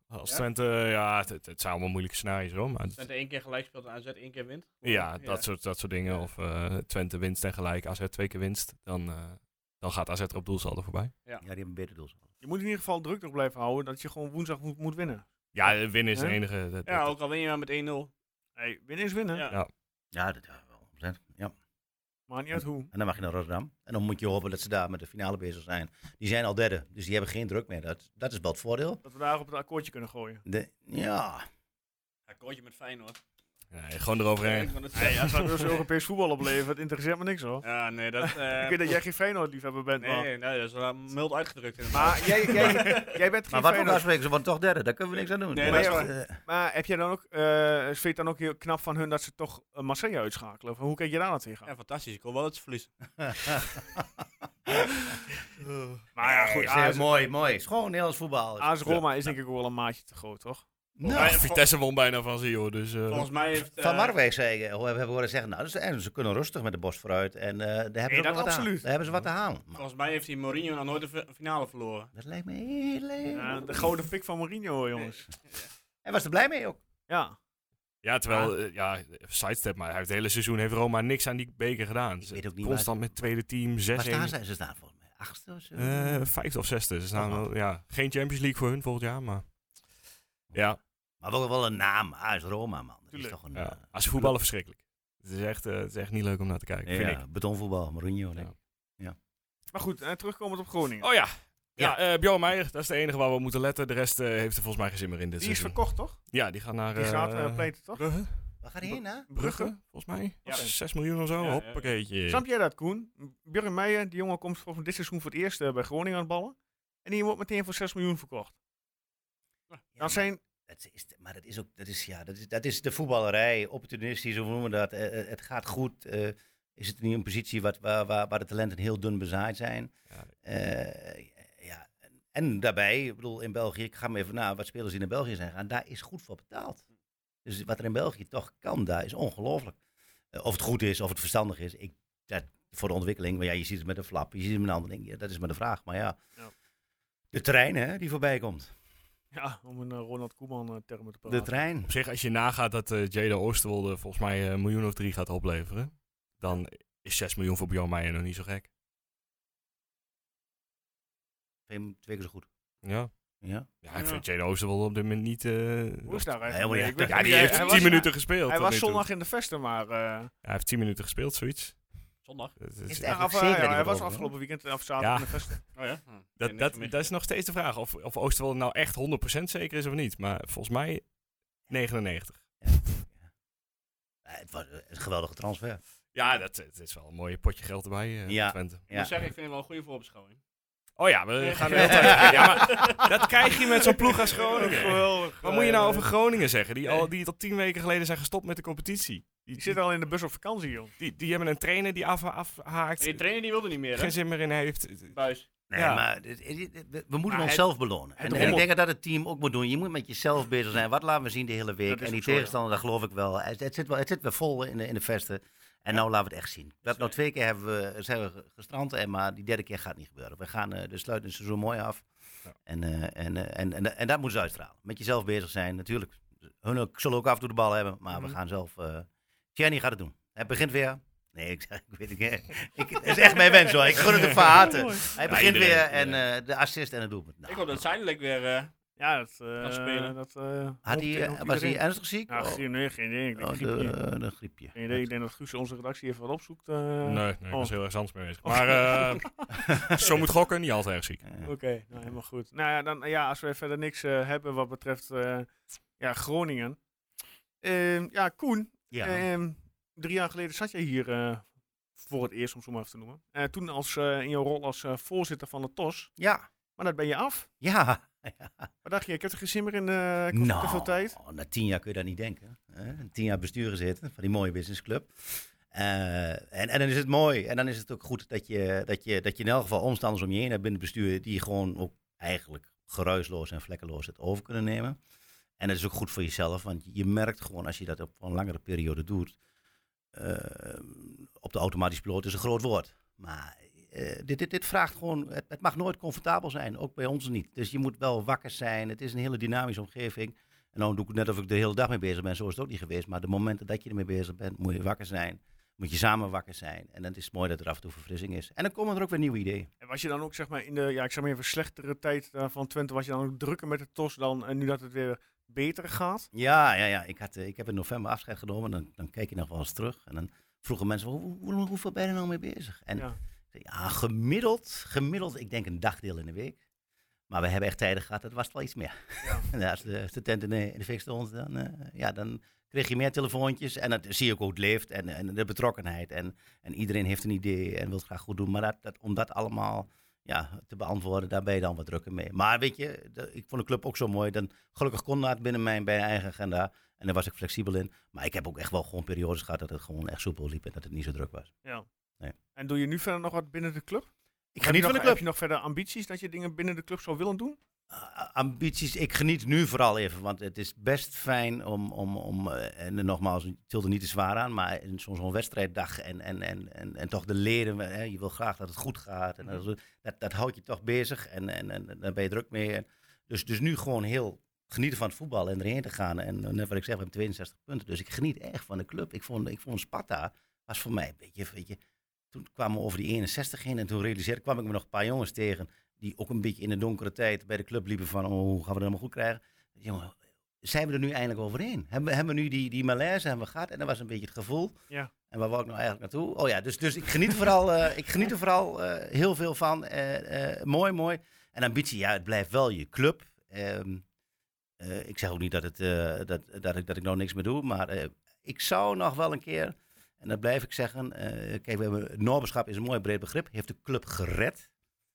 B: als
F: Ja?
B: Twente, ja, het, het, het zijn allemaal moeilijke scenario's hoor. Maar het-
F: Twente één keer gelijk speelt en AZ één keer wint.
B: ja, dat soort, dat soort dingen. Of eh, Twente winst en gelijk, AZ twee keer winst. Dan, eh, dan gaat AZ er op doelsaldo voorbij.
C: Ja, die hebben een beter doelsaldo.
A: Je moet in ieder geval druk nog blijven houden dat je gewoon woensdag moet, moet winnen.
B: Ja, eh, winnen is de
A: Hè?
B: enige. dat- dat-
F: Ja, ook al win je maar met 1-0.
A: Hey, winnen is winnen.
F: Ja.
C: Ja, dat ja, wel. ontzettend. Ja.
A: Maar niet uit hoe.
C: En dan mag je naar Rotterdam. En dan moet je hopen dat ze daar met de finale bezig zijn. Die zijn al derde, dus die hebben geen druk meer. Dat, dat is wel het voordeel.
A: Dat we daar op het akkoordje kunnen gooien.
C: De, ja,
F: Akkoordje met Feyenoord.
B: Nee, gewoon eroverheen.
F: Ja,
A: Als dat dus Europees voetbal opleveren, het interesseert me niks hoor.
F: Ja, nee, dat... eh,
A: Ik weet dat jij geen Feyenoord-liefhebber bent, maar...
F: nee, nee, dat is wel mild uitgedrukt inderdaad.
A: Maar jij, jij, jij bent geen
C: maar wat ook
A: Feyenoord.
C: afspreken, ze worden toch derde. Daar kunnen we niks aan doen.
F: Nee,
C: Maar-
A: dat is
C: eh,
A: Maar heb jij dan ook, eh vind je het dan ook heel knap van hun dat ze toch eh, Marseille uitschakelen? Of hoe kijk je daar nou tegenaan?
F: Ja, fantastisch. Ik wil wel dat ze verliezen.
A: maar ja,
C: nee,
A: goed,
C: ze-
A: AS,
C: mooi, mooi. Schoon Nederlands voetbal.
A: AS Roma is denk ik ook wel een maatje te groot, toch?
B: Ja,
C: Nou,
B: Vitesse won bijna van ze, joh. Dus, eh,
F: Volgens mij heeft... eh,
C: Van Marwijk zei, eh, hoe hebben we horen zeggen, nou, dus, eh, ze kunnen rustig met de bos vooruit. En eh daar, hebben ze
A: Nee,
C: ook
A: dat
C: wat aan.
A: absoluut.
C: daar hebben ze wat te halen. Maar
F: Volgens mij heeft hij Mourinho nog nooit de fi- finale verloren.
C: dat lijkt me heel leuk.
A: Eh, Ja, de gouden pik van Mourinho, jongens.
C: Hij was er blij mee ook.
A: Ja.
B: Ja, terwijl, eh, ja, sidestep, maar het hele seizoen heeft Roma niks aan die beker gedaan. Ze-
C: weet ook niet
B: Constant met tweede team, 6-1.
C: Waar staan zij? Ze staan volgens mij achtste of zo.
B: Eh, vijfde of zesde. Ze staan wel, ja, geen Champions League voor hun volgend jaar, maar... Ja,
C: maar wel, wel een naam. AS Roma, man. Dat is
F: Tuurlijk.
C: toch een...
B: ja.
C: eh,
B: als voetballen verschrikkelijk. Het is, echt, eh, het is echt niet leuk om naar te kijken, vind
C: ja, betonvoetbal, Mourinho. denk ik.
A: Maar goed, eh, terugkomend op Groningen.
B: ik. Oh ja, ja. eh Bjorn Meijer, dat is de enige waar we op moeten letten. De rest eh, heeft er volgens mij geen zin meer in dit
A: die is
B: seizoen.
A: verkocht, toch?
B: Ja, die gaat naar...
A: Die
B: eh,
A: gaat eh pleiten, toch?
B: Brugge?
C: Waar gaat hij heen, hè?
A: Brugge.
B: Brugge, volgens mij.
F: Ja.
B: 6 miljoen of zo,
F: Ja, ja, ja.
B: hoppakeetje.
A: Snap jij dat, Koen? Björn Meijer, die jongen komt volgens mij dit seizoen voor het eerst eh, bij Groningen aan het ballen. En die wordt meteen voor 6 miljoen verkocht.
C: Ja,
A: Dan zijn,
C: Dat is, maar dat is ook, dat is, ja, dat is, dat is de voetballerij, opportunistisch, hoe noemen we dat. Eh, eh, het gaat goed. eh, is het niet een positie wat, waar, waar, waar de talenten heel dun bezaaid zijn?
B: Ja.
C: Eh, ja. En daarbij, ik bedoel, in België, ik ga maar even na wat spelers die naar België zijn gaan, daar is goed voor betaald. Dus wat er in België toch kan, daar is ongelooflijk. Eh, of het goed is, of het verstandig is, ik, dat, voor de ontwikkeling, maar ja, je ziet het met een flap, je ziet het met een ander ding, ja, dat is maar de vraag. Maar ja,
A: Ja.
C: de trein hè, die voorbij komt,
A: ja, om een eh, Ronald Koeman-term te
C: de
A: praten.
C: trein.
B: Op zich, als je nagaat dat eh Jada Oosterwolde volgens mij eh, een miljoen of drie gaat opleveren, dan is 6 miljoen voor Bjorn Meijer nog niet zo gek.
C: Twee, twee keer zo goed.
B: Ja,
C: Ja.
B: ja ik vind Jada Oosterwolde op dit moment niet... eh,
A: Hoe is daar
C: Helemaal
A: eigenlijk? mee?
C: ja.
A: Ik weet-
B: ja, die
A: hij-
B: heeft
A: hij
B: 10
A: was-
B: minuten gespeeld.
A: Hij
B: tot
A: was
B: nu toe.
A: zondag in de vesten, maar... eh,
B: Hij heeft 10 minuten gespeeld, zoiets.
F: Zondag.
B: Dat,
C: Is
B: is,
C: het echt?
A: ja, of, eh,
C: zeker
A: ja,
C: dat hij
A: hij
C: wordt
A: was
C: overgenomen.
A: afgelopen weekend eh, of zaterdag
B: Ja.
A: in de vesten.
F: Oh ja. Hm.
B: dat,
F: Niks
B: dat,
F: gemist.
B: dat is nog steeds de vraag of, of Oosterwolde nou echt 100% zeker is of niet. Maar volgens mij 99.
C: Eh, Het was een geweldige transfer.
B: Ja, dat, het is wel een mooi potje geld erbij, eh,
C: Ja.
B: voor Twente.
F: Ik
C: Ja.
F: moet zeggen, ik vind het wel een goede voorbeschouwing.
B: Oh ja, we gaan de hele tijd- Ja, maar dat krijg je met zo'n ploeg als Groningen.
A: Geweldig.
B: Wat moet je nou over Groningen zeggen? Die al, die al tien weken geleden zijn gestopt met de competitie.
A: Die zit al in de bus op vakantie, joh.
B: Die, die hebben een trainer die af, afhaakt.
F: Die trainer die wilde niet meer, hè?
B: geen zin meer in heeft.
F: Buis.
C: Nee,
B: Ja.
C: maar dit- dit- dit- we we moeten
A: Maar
C: onszelf belonen. En, en ik
A: rommelt.
C: denk dat dat het team ook moet doen. Je moet met jezelf bezig zijn. Wat laten we zien de hele week?
A: Dat is
C: En die
A: ook zo, ja.
C: tegenstander, daar geloof ik wel. Het, het zit wel. het zit weer vol in de, in de vesten. En nou laten we het echt zien.
A: Dus,
C: Dat
A: eh,
C: nou twee keer hebben we, zijn we gestrand, en maar die derde keer gaat niet gebeuren. We gaan eh, de sluitende seizoen mooi af.
B: Ja.
C: En, eh, en, eh, en, en, en dat moeten ze uitstralen. Met jezelf bezig zijn, natuurlijk. Hun ook, zullen ook af en toe de bal hebben, maar we gaan zelf... eh Tjerni gaat het doen. Hij begint weer. Nee, ik, zeg- ik weet het niet. Ik, het is echt mijn wens hoor. Ik gun het hem van harte. Hij
B: Ja,
C: begint
B: iedereen,
C: weer en
B: iedereen.
C: eh, de assist en het doelpunt. Nou,
F: Ik hoop dat Zijdelijk weer... eh,
A: Ja, dat... eh,
F: Kan spelen.
A: dat eh,
C: had
A: hoopt-
C: hij, eh,
A: hoopt
C: was hij
A: iedereen.
C: ernstig ziek?
A: Ja,
C: Oh,
A: geen, nee, geen idee. Ik denk
C: oh, de,
A: griepje.
C: eh, de griepje.
A: Geen idee. Ik denk dat Guus onze redactie even wat opzoekt. eh.
B: Nee, nee, ik was
A: Oh.
B: heel erg anders mee bezig. Maar eh zo moet gokken, niet altijd erg ziek.
C: Eh,
A: Oké, nou helemaal goed. Nou ja, dan, ja als we verder niks eh, hebben wat betreft eh, ja, Groningen. Ehm, ja, Koen,
C: ja.
A: ehm, drie jaar geleden zat jij hier eh, voor het eerst, om het zo maar even te noemen. Eh, toen als, eh, in jouw rol als eh, voorzitter van de TOS.
C: ja.
A: Maar dat ben je af.
C: Ja.
A: Wat dacht je? Ik heb er geen zin meer in. eh ik heb
C: Nou,
A: te veel tijd.
C: na tien jaar kun je dat niet denken. Hè? Tien jaar besturen zitten van die mooie businessclub. Eh, en, en dan is het mooi. En dan is het ook goed dat je, dat je, dat je in elk geval omstanders om je heen hebt binnen het bestuur. die gewoon ook eigenlijk geruisloos en vlekkeloos het over kunnen nemen. En dat is ook goed voor jezelf, want je merkt gewoon als je dat op een langere periode doet. eh, op de automatische piloot is een groot woord. Maar eh, dit, dit, dit vraagt gewoon. Het, het mag nooit comfortabel zijn, ook bij ons niet. Dus je moet wel wakker zijn. Het is een hele dynamische omgeving. En nou doe ik net of ik de hele dag mee bezig ben. Zo is het ook niet geweest. Maar de momenten dat je ermee bezig bent, moet je wakker zijn. Moet je samen wakker zijn. En dan is het mooi dat er af en toe verfrissing is. En dan komen er ook weer nieuwe ideeën.
A: En was je dan ook zeg maar in de, ja, ik zeg maar even slechtere tijd eh, van Twente, was je dan ook drukker met de TOS dan en nu dat het weer beter gaat?
C: Ja, ja, ja. Ik, had, eh, ik heb in november afscheid genomen. Dan, dan kijk je nog wel eens terug. En dan vroegen mensen, hoe, hoe, hoe- hoeveel ben je er nou mee bezig? En
A: Ja.
C: ik zei, ja, gemiddeld, gemiddeld, ik denk een dagdeel in de week. Maar we hebben echt tijden gehad, dat was het wel iets meer. En als de, als de tent in de, in de fik stond, dan, eh, ja, dan kreeg je meer telefoontjes. En dat zie je ook hoe het leeft en, en de betrokkenheid. En, en iedereen heeft een idee en wil het graag goed doen. Maar dat, dat, om dat allemaal ja, te beantwoorden, daar ben je dan wat drukker mee. Maar weet je, de- ik vond de club ook zo mooi. Dan, gelukkig kon dat binnen mijn, bij eigen agenda. En daar was ik flexibel in. Maar ik heb ook echt wel gewoon periodes gehad dat het gewoon echt soepel liep en dat het niet zo druk was.
A: Ja.
C: Nee.
A: En doe je nu verder nog wat binnen de club?
C: Ik
A: Heb je,
C: geniet
A: nog,
C: van
A: heb
C: de club.
A: je nog verder ambities dat je dingen binnen de club zou willen doen?
C: Uh, ambities. Ik geniet nu vooral even, want het is best fijn om, om, om eh, en nogmaals, ik til er niet te zwaar aan, maar in zo'n zo'n wedstrijddag en, en, en, en, en toch de leren, hè, je wil graag dat het goed gaat. En dat, dat, dat houdt je toch bezig en, en, en daar ben je druk mee. Dus, dus nu gewoon heel genieten van het voetbal en erheen te gaan. En eh, net wat ik zeg, we hebben 62 punten. Dus ik geniet echt van de club. Ik vond, ik vond Sparta was voor mij een beetje, weet je, toen kwamen we over die 61 heen en toen realiseerde kwam ik me nog een paar jongens tegen die ook een beetje in de donkere tijd bij de club liepen van oh, hoe gaan we dat allemaal goed krijgen. Jongen, zijn we er nu eindelijk overheen? Hebben, we- hebben we nu die, die malaise hebben we gehad en dat was een beetje het gevoel.
A: Ja.
C: En waar wou ik nou eigenlijk naartoe? Oh ja, dus, dus ik geniet, vooral, eh, ik geniet er vooral eh, heel veel van. Eh, eh, mooi, mooi. En ambitie, ja, het blijft wel je club. Ehm, eh, ik zeg ook niet dat, het, eh, dat, dat, ik, dat ik nou niks meer doe, maar eh, ik zou nog wel een keer, en dat blijf ik zeggen, eh, kijk, we hebben, het Noorberschap is een mooi breed begrip, heeft de club gered,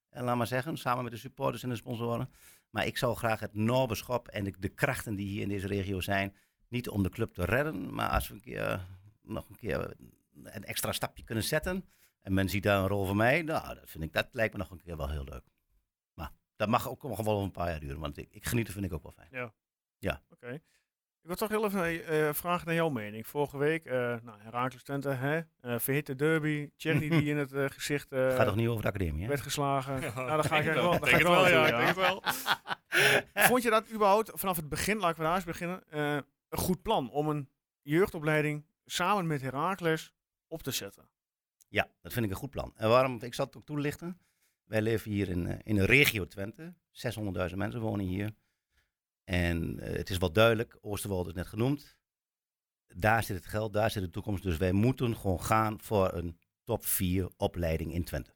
C: en laat maar zeggen, samen met de supporters en de sponsoren. Maar ik zou graag het Noorberschap en de, de krachten die hier in deze regio zijn, niet om de club te redden, maar als we een keer, nog een keer een extra stapje kunnen zetten, en men ziet daar een rol voor mij, nou, dat, vind ik, dat lijkt me nog een keer wel heel leuk. Maar dat mag ook nog wel over een paar jaar duren, want ik, ik geniet er vind ik ook wel fijn.
A: Ik wil toch heel even eh, eh, vragen naar jouw mening. Vorige week, eh nou, Herakles Twente, hè? Eh, verhitte derby, Thierry die in het eh, gezicht eh,
C: Het gaat toch niet over de academie, hè?
A: werd geslagen. nou, dan ga ik echt wel. dan ga
B: denk
A: ik
B: het wel,
A: ja,
B: ja, ik
A: ja.
B: denk het wel.
A: Vond je dat überhaupt vanaf het begin, laat ik vandaag eens beginnen, eh, een goed plan om een jeugdopleiding samen met Herakles op te zetten?
C: Ja, dat vind ik een goed plan. En waarom? Ik zal het ook toelichten. Wij leven hier in, eh, in de regio Twente. 600.000 mensen wonen hier. En eh, het is wel duidelijk, Oosterwald is net genoemd. Daar zit het geld, daar zit de toekomst. Dus wij moeten gewoon gaan voor een top 4 opleiding in Twente.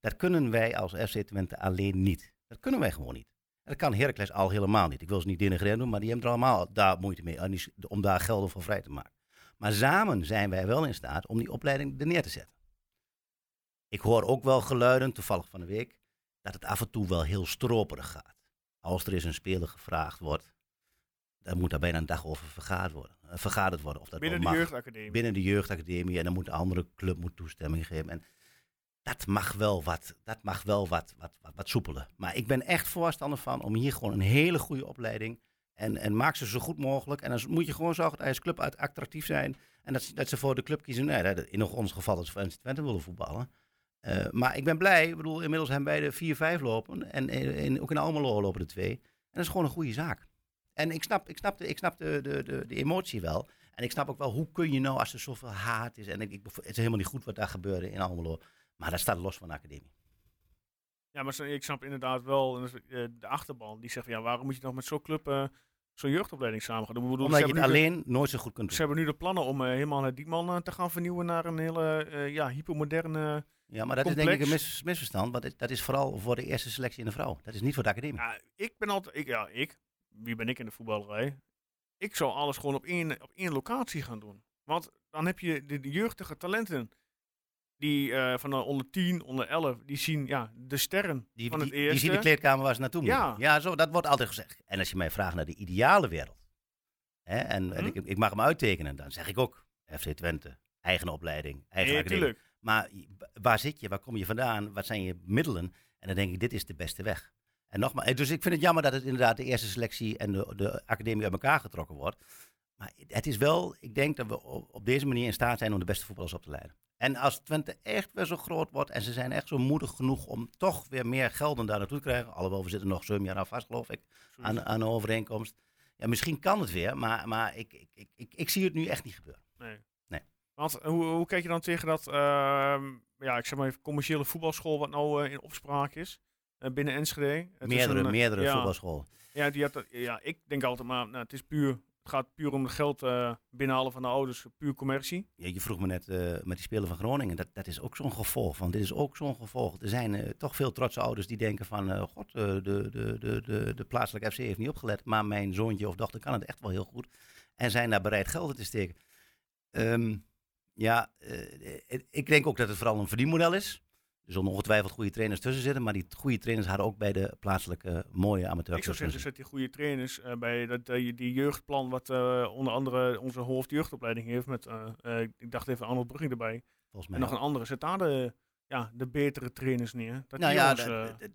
C: Dat kunnen wij als FC Twente alleen niet. Dat kunnen wij gewoon niet. En Dat kan Heracles al helemaal niet. Ik wil ze niet denigreren doen, maar die hebben er allemaal daar moeite mee en die s- om daar gelden voor vrij te maken. Maar samen zijn wij wel in staat om die opleiding er neer te zetten. Ik hoor ook wel geluiden, toevallig van de week, dat het af en toe wel heel stroperig gaat. Als er eens een speler gevraagd wordt, dan moet daar bijna een dag over vergaderd worden. eh, Vergaderd worden of dat
A: Binnen
C: wel
A: de
C: mag
A: jeugdacademie.
C: binnen de jeugdacademie. En dan moet de andere club moet toestemming geven. En dat mag wel wat, dat mag wel wat, wat, wat, wat soepeler. Maar ik ben echt voorstander van om hier gewoon een hele goede opleiding. En, en maak ze zo goed mogelijk. En dan moet je gewoon zorgen dat je als club uit- attractief zijn. En dat, ze- dat ze voor de club kiezen. Nee, dat- in nog ons geval dat ze voor NC Twente willen voetballen. Eh, maar ik ben blij. Ik bedoel, inmiddels zijn beide 4-5 lopen. En in, in- ook in Almelo lopen de twee. En dat is gewoon een goede zaak. En ik snap, ik snap, de, ik snap de, de, de, de emotie wel. En ik snap ook wel, hoe kun je nou als er zoveel haat is. En ik, ik, het is helemaal niet goed wat daar gebeurde in Almelo. Maar dat staat los van de academie.
A: Ja, maar zo- ik snap inderdaad wel en dat is, eh, de achterban die zegt: van, ja, waarom moet je nog met zo'n club eh, zo'n jeugdopleiding samen gaan doen? Ik bedoel,
C: Omdat
A: ze
C: je het
A: hebben nu de-
C: alleen nooit zo goed kunt
A: Ze
C: doen.
A: hebben nu de plannen om eh, helemaal het Diekman eh, te gaan vernieuwen naar een hele eh, ja, hypermoderne.
C: Ja, maar dat is denk ik een
A: complex.
C: mis- misverstand. Want dat- dat is vooral voor de eerste selectie in de vrouw. Dat is niet voor de academie.
A: Ja, eh, ik ben altijd, ik, ja, ik, wie ben ik in de voetballerij? Ik zou alles gewoon op één, op één locatie gaan doen. Want dan heb je de, de jeugdige talenten. Die eh, van de onder 10, onder 11, die zien ja, de sterren
C: Die,
A: van
C: die,
A: het
C: die
A: eerste.
C: zien de kleedkamer waar ze naartoe moeten.
A: Ja.
C: Ja, zo, dat wordt altijd gezegd. En als je mij vraagt naar de ideale wereld. Hè, en en
A: Hm?
C: ik, ik mag hem uittekenen. Dan zeg ik ook FC Twente. Eigen opleiding. Eigen
A: Nee,
C: academie.
A: tuurlijk.
C: Maar i- b- waar zit je? Waar kom je vandaan? Wat zijn je middelen? En dan denk ik, dit is de beste weg. En nogmaals, eh, dus ik vind het jammer dat het inderdaad de eerste selectie en de, de academie uit elkaar getrokken wordt. Maar het is wel, ik denk dat we op, op deze manier in staat zijn om de beste voetballers op te leiden. En als Twente echt weer zo groot wordt en ze zijn echt zo moedig genoeg om toch weer meer gelden daar naartoe te krijgen. Alhoewel, we zitten nog zeven jaar aan vast, geloof ik,
A: Mm.
C: aan, aan de overeenkomst. Ja, misschien kan het weer, maar, maar ik, ik, ik, ik, ik zie het nu echt niet gebeuren.
A: Nee.
C: Nee.
A: Want hoe, hoe kijk je dan tegen dat, ehm, ja, ik zeg maar even, commerciële voetbalschool, wat nou eh, in opspraak is eh, binnen Enschede? Het is
C: meerdere
A: een, eh,
C: meerdere
A: ja,
C: voetbalscholen.
A: Ja, die had, dat- ja, ik denk altijd maar, nou, het is puur, het gaat puur om het geld eh, binnenhalen van de ouders, puur commercie.
C: Ja, je vroeg me net eh, met die Spelen van Groningen. Dat, dat is ook zo'n gevolg. Want dit is ook zo'n gevolg. Er zijn eh, toch veel trotse ouders die denken van... eh, God, eh, de, de, de, de, de plaatselijke FC heeft niet opgelet. Maar mijn zoontje of dochter kan het echt wel heel goed. En zijn daar bereid geld in te steken. Ehm, ja, eh, het- ik denk ook dat het vooral een verdienmodel is. Er zullen ongetwijfeld goede trainers tussen zitten. Maar die goede trainers hadden ook bij de plaatselijke mooie
A: ik zou
C: amateurclubs
A: zeggen,
C: moeten
A: zet die goede trainers eh, bij dat, eh, die jeugdplan, wat eh, onder andere onze hoofdjeugdopleiding heeft, met, eh, eh, ik dacht even Arnold Brugging erbij,
C: zijn, volgens
A: en
C: mij.
A: nog een andere, zet daar de, ja, de betere trainers neer. Dat
C: nou
A: die
C: ja,
A: jongens,
C: dat-
A: eh,
C: dat- dat-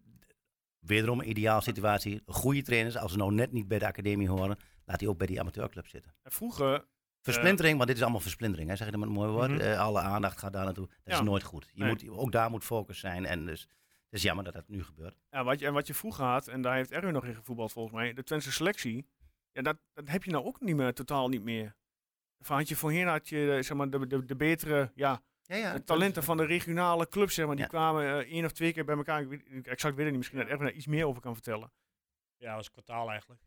C: wederom een ideaal situatie. Goede trainers, als ze nou net niet bij de academie horen, laat die ook bij die amateurclub zitten.
A: vroeger
C: Versplintering, want dit is allemaal versplintering, hè, zeg je dat met een mooi woord.
A: Mhm.
C: Eh, alle aandacht gaat daar naartoe. Dat
A: Ja.
C: is nooit goed. Je
A: Nee.
C: moet, ook daar moet focus zijn. En dus, het is jammer dat dat nu gebeurt.
A: Ja, wat je, en wat je vroeger had, en daar heeft Erwin nog in gevoetbald volgens mij, de Twentse selectie, Ja, dat, dat heb je nou ook niet meer, totaal niet meer. Van had je voorheen had je eh, zeg maar, de, de, de betere ja,
C: Ja, ja,
A: de talenten van de regionale clubs, zeg maar, die
C: Ja.
A: kwamen eh, één of twee keer bij elkaar. Ik weet, ik- exact weet het niet, misschien dat Erwin daar iets meer over kan vertellen.
F: Ja, was kwartaal eigenlijk.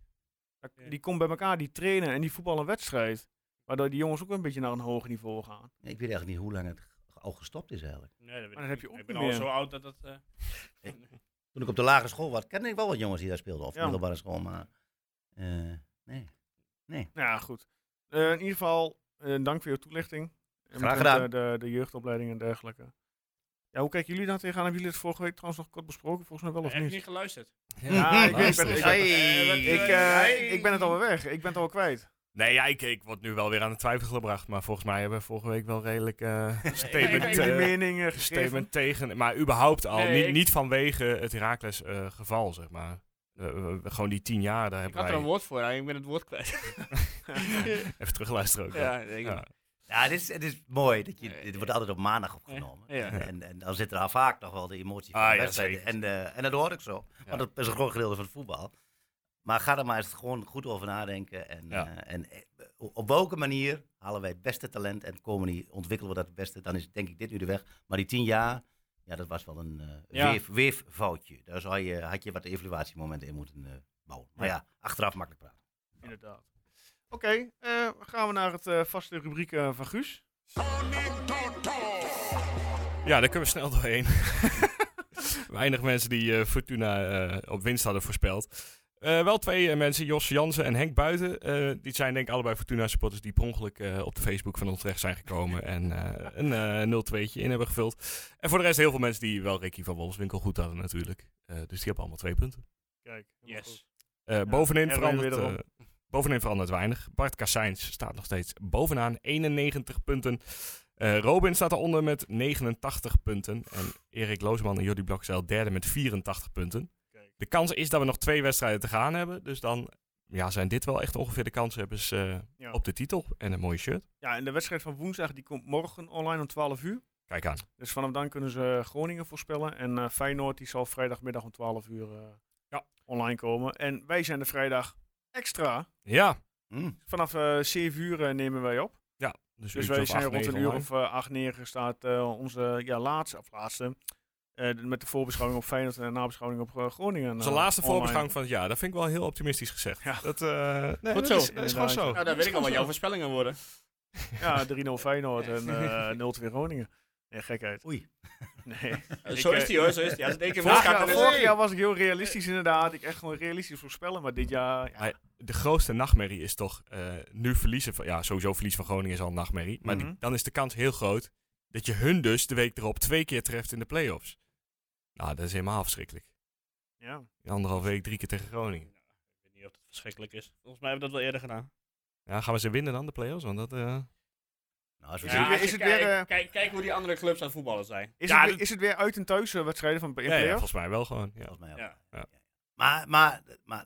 A: Dat-
F: Ja.
A: Die komen bij elkaar, die trainen en die voetballen een wedstrijd. Waardoor die jongens ook een beetje naar een hoger niveau gaan.
C: Ik weet eigenlijk niet hoe lang het g- al gestopt is eigenlijk.
F: Nee, dat weet
A: Maar
F: ik
A: dat heb
F: niet.
A: je ook
F: Ik ben
A: niet
F: al
A: meer.
F: zo oud dat dat... eh,
C: Toen ik op de lagere school was, kende ik wel wat jongens die daar speelden. Of
A: Ja.
C: middelbare school, maar... eh, nee.
A: Nou ja, goed. Eh, in ieder geval, eh, dank voor je toelichting. En
C: Graag
A: betreft,
C: gedaan.
A: eh, De, de, jeugdopleiding en dergelijke. Ja, hoe kijken jullie daar tegenaan? Hebben jullie het vorige week trouwens nog kort besproken? Volgens mij wel of
F: Heb je
A: niet?
F: niet geluisterd?
A: Ja, ik weet- ik ben-
B: Lastig.
A: ik-
C: Hey.
F: Eh, wat-
A: Ik,
F: Hey.
A: eh, ik ben het alweer weg. Ik ben het al kwijt.
B: Nee, ja, ik, ik word nu wel weer aan het twijfelen gebracht. Maar volgens mij hebben we vorige week wel redelijk eh
A: Ik heb
B: statement,
A: mijn
B: eh,
A: mening eh, gegeven.
B: statement tegen. Maar überhaupt al.
F: Nee,
B: niet,
F: ik-
B: niet vanwege het Herakles eh, geval, zeg maar. Eh, eh, gewoon die tien jaar, daar
F: Ik
B: hebben
F: had er
B: wij...
F: een woord voor, hè, ik ben het woord kwijt.
B: Even terugluisteren ook.
F: ja,
B: Ja.
F: ik denk
B: Ja.
C: Ja, dit is, het is mooi. Dat je,
F: Ja,
C: dit
F: ja.
C: wordt altijd op maandag opgenomen.
F: Ja, ja.
C: En, en dan zit er al vaak nog wel de emotie van
B: Ah,
C: de
B: ja,
C: wedstrijd.
B: zeker.
C: en, eh, en dat hoor ik zo.
B: Ja.
C: Want dat is een groot gedeelte van het voetbal. Maar ga er maar eens gewoon goed over nadenken. En,
B: Ja.
C: eh, en eh, op welke manier halen wij het beste talent en komen die, ontwikkelen we dat het beste? Dan is denk ik dit nu de weg. Maar die tien jaar, ja, dat was wel een eh
F: Ja.
C: weef, weeffoutje. Daar zou je, had je wat evaluatiemomenten in moeten eh, bouwen. Maar ja. achteraf makkelijk praten.
A: Inderdaad. Oké, eh, gaan we naar het eh, vaste rubriek eh, van Guus.
B: ja, daar kunnen we snel doorheen. Weinig mensen die eh, Fortuna eh, op winst hadden voorspeld. Eh, wel twee eh, mensen, Jos Jansen en Henk Buiten. eh, die zijn denk ik allebei Fortuna-supporters die per ongeluk eh, op de Facebook van ons terecht zijn gekomen. en eh, een eh 0-2'tje in hebben gevuld. En voor de rest heel veel mensen die wel Ricky van Wolfswinkel goed hadden natuurlijk. Eh, dus die hebben allemaal twee punten.
A: Kijk,
F: Yes. goed.
B: Eh, bovenin,
A: Erwin
B: verandert,
A: wederom.
B: eh, bovenin verandert weinig. Bart Kassijns staat nog steeds bovenaan, 91 punten. Eh, Robin staat eronder met 89 punten. En Erik Loosman en Jordi Blokzeil derde met 84 punten.
A: Kijk.
B: De kans is dat we nog twee wedstrijden te gaan hebben. Dus dan ja, zijn dit wel echt ongeveer de kanshebbers eh
A: Ja.
B: op de titel. En een mooie shirt.
A: Ja, en de wedstrijd van woensdag die komt morgen online om 12 uur.
B: Kijk aan.
A: Dus vanaf dan kunnen ze eh, Groningen voorspellen. En eh, Feyenoord die zal vrijdagmiddag om 12 uur eh,
B: Ja.
A: online komen. En wij zijn de vrijdag extra.
B: Ja, dus
C: Mm.
A: Vanaf eh 7 uur eh, nemen wij op.
B: ja. Dus,
A: Dus
B: uurtje
A: wij
B: of
A: zijn
B: acht,
A: rond
B: negen
A: een uur
B: online.
A: of eh, acht negen staat eh, onze ja, laatste, of laatste, eh, de- met de voorbeschouwing op Feyenoord en de nabeschouwing op eh, Groningen.
B: Dat is
A: eh,
B: de laatste
A: online.
B: voorbeschouwing van het jaar. Dat vind ik wel heel optimistisch gezegd.
A: Ja.
B: Dat, eh, nee, dat
F: Goed zo.
B: Is, dat is gewoon zo.
A: Inderdaad.
F: Nou, dan weet ik al wat jouw voorspellingen worden.
A: Ja, 3-0 Feyenoord en eh 0-2 Groningen. Nee, gekheid.
C: Oei.
A: Nee.
F: Eh, zo
A: Ik,
F: is die hoor, zo is die. Als het één keer
A: Vorig,
F: misgaat,
A: jaar,
F: dan is-
A: vorig jaar was ik heel realistisch inderdaad. Ik echt gewoon realistisch voorspellen, maar dit jaar... Ja,
B: Maar de grootste nachtmerrie is toch eh, nu verliezen van... Ja, sowieso verlies van Groningen is al een nachtmerrie. Maar die-
A: Mhm.
B: dan is de kans heel groot dat je hun dus de week erop twee keer treft in de play-offs. Nou, dat is helemaal verschrikkelijk.
A: ja.
B: In Anderhalf week drie keer tegen Groningen.
F: Ik weet niet of dat verschrikkelijk is. Volgens mij hebben we dat wel eerder gedaan.
B: Ja, gaan we ze winnen dan, de play-offs? Want dat... eh,
C: Nou, als we
A: Is het weer- is het weer, eh,
F: kijk, kijk, kijk hoe die andere clubs aan het voetballen zijn.
A: Is,
B: Ja,
A: het, weer-
B: dat-
A: is het weer uit en thuis eh, wedstrijden van in
B: ja, ja,
A: play-offs?
B: volgens mij wel gewoon. Ja.
C: Volgens mij
F: Ja.
C: ook.
B: Ja.
C: Ja, ja. Maar, maar, maar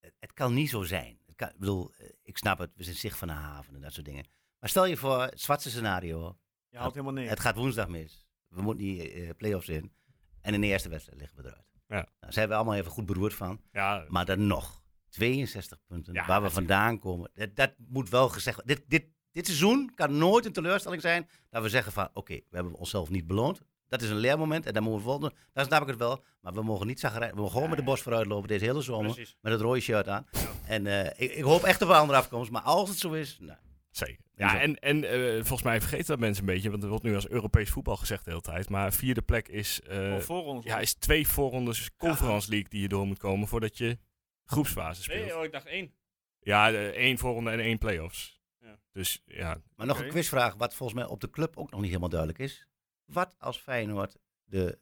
C: het- het kan niet zo zijn. Het kan, ik bedoel, eh, ik snap het, we zijn zicht van de haven en dat soort dingen. Maar stel je voor, het zwartste scenario,
A: Je haalt helemaal niks.
C: het gaat woensdag mis. We moeten die eh, play-offs in. En in de eerste wedstrijd liggen we eruit.
B: Ja.
C: Nou, daar zijn we allemaal even goed beroerd van.
B: Ja,
C: Maar dan nog, 62 punten,
B: Ja,
C: waar we
B: natuurlijk.
C: vandaan komen. Dat, dat moet wel gezegd worden. Dit, dit, dit seizoen kan nooit een teleurstelling zijn dat we zeggen van, oké, we hebben onszelf niet beloond. Dat is een leermoment en dan moeten we voldoen. Dan snap ik het wel. Maar we mogen niet zagrijnen. We mogen gewoon met de bos vooruit lopen deze hele zomer.
F: Precies.
C: Met het rode shirt aan. En eh, ik, ik hoop echt op een andere afkomst. Maar als het zo is, nou,
B: zeker. Ja, en, en eh, volgens mij vergeten dat mensen een beetje. Want er wordt nu als Europees voetbal gezegd de hele tijd. Maar vierde plek is... eh,
A: Wel voor ons.
B: ja, is twee voorrondes Conference League die je door moet komen voordat je groepsfase speelt.
F: Nee, oh, ik dacht één.
B: Ja, de- één voorronde en één play-offs.
F: Ja.
B: Dus ja,
C: maar nog
A: Oké.
C: een quizvraag wat volgens mij op de club ook nog niet helemaal duidelijk is. Wat als Feyenoord de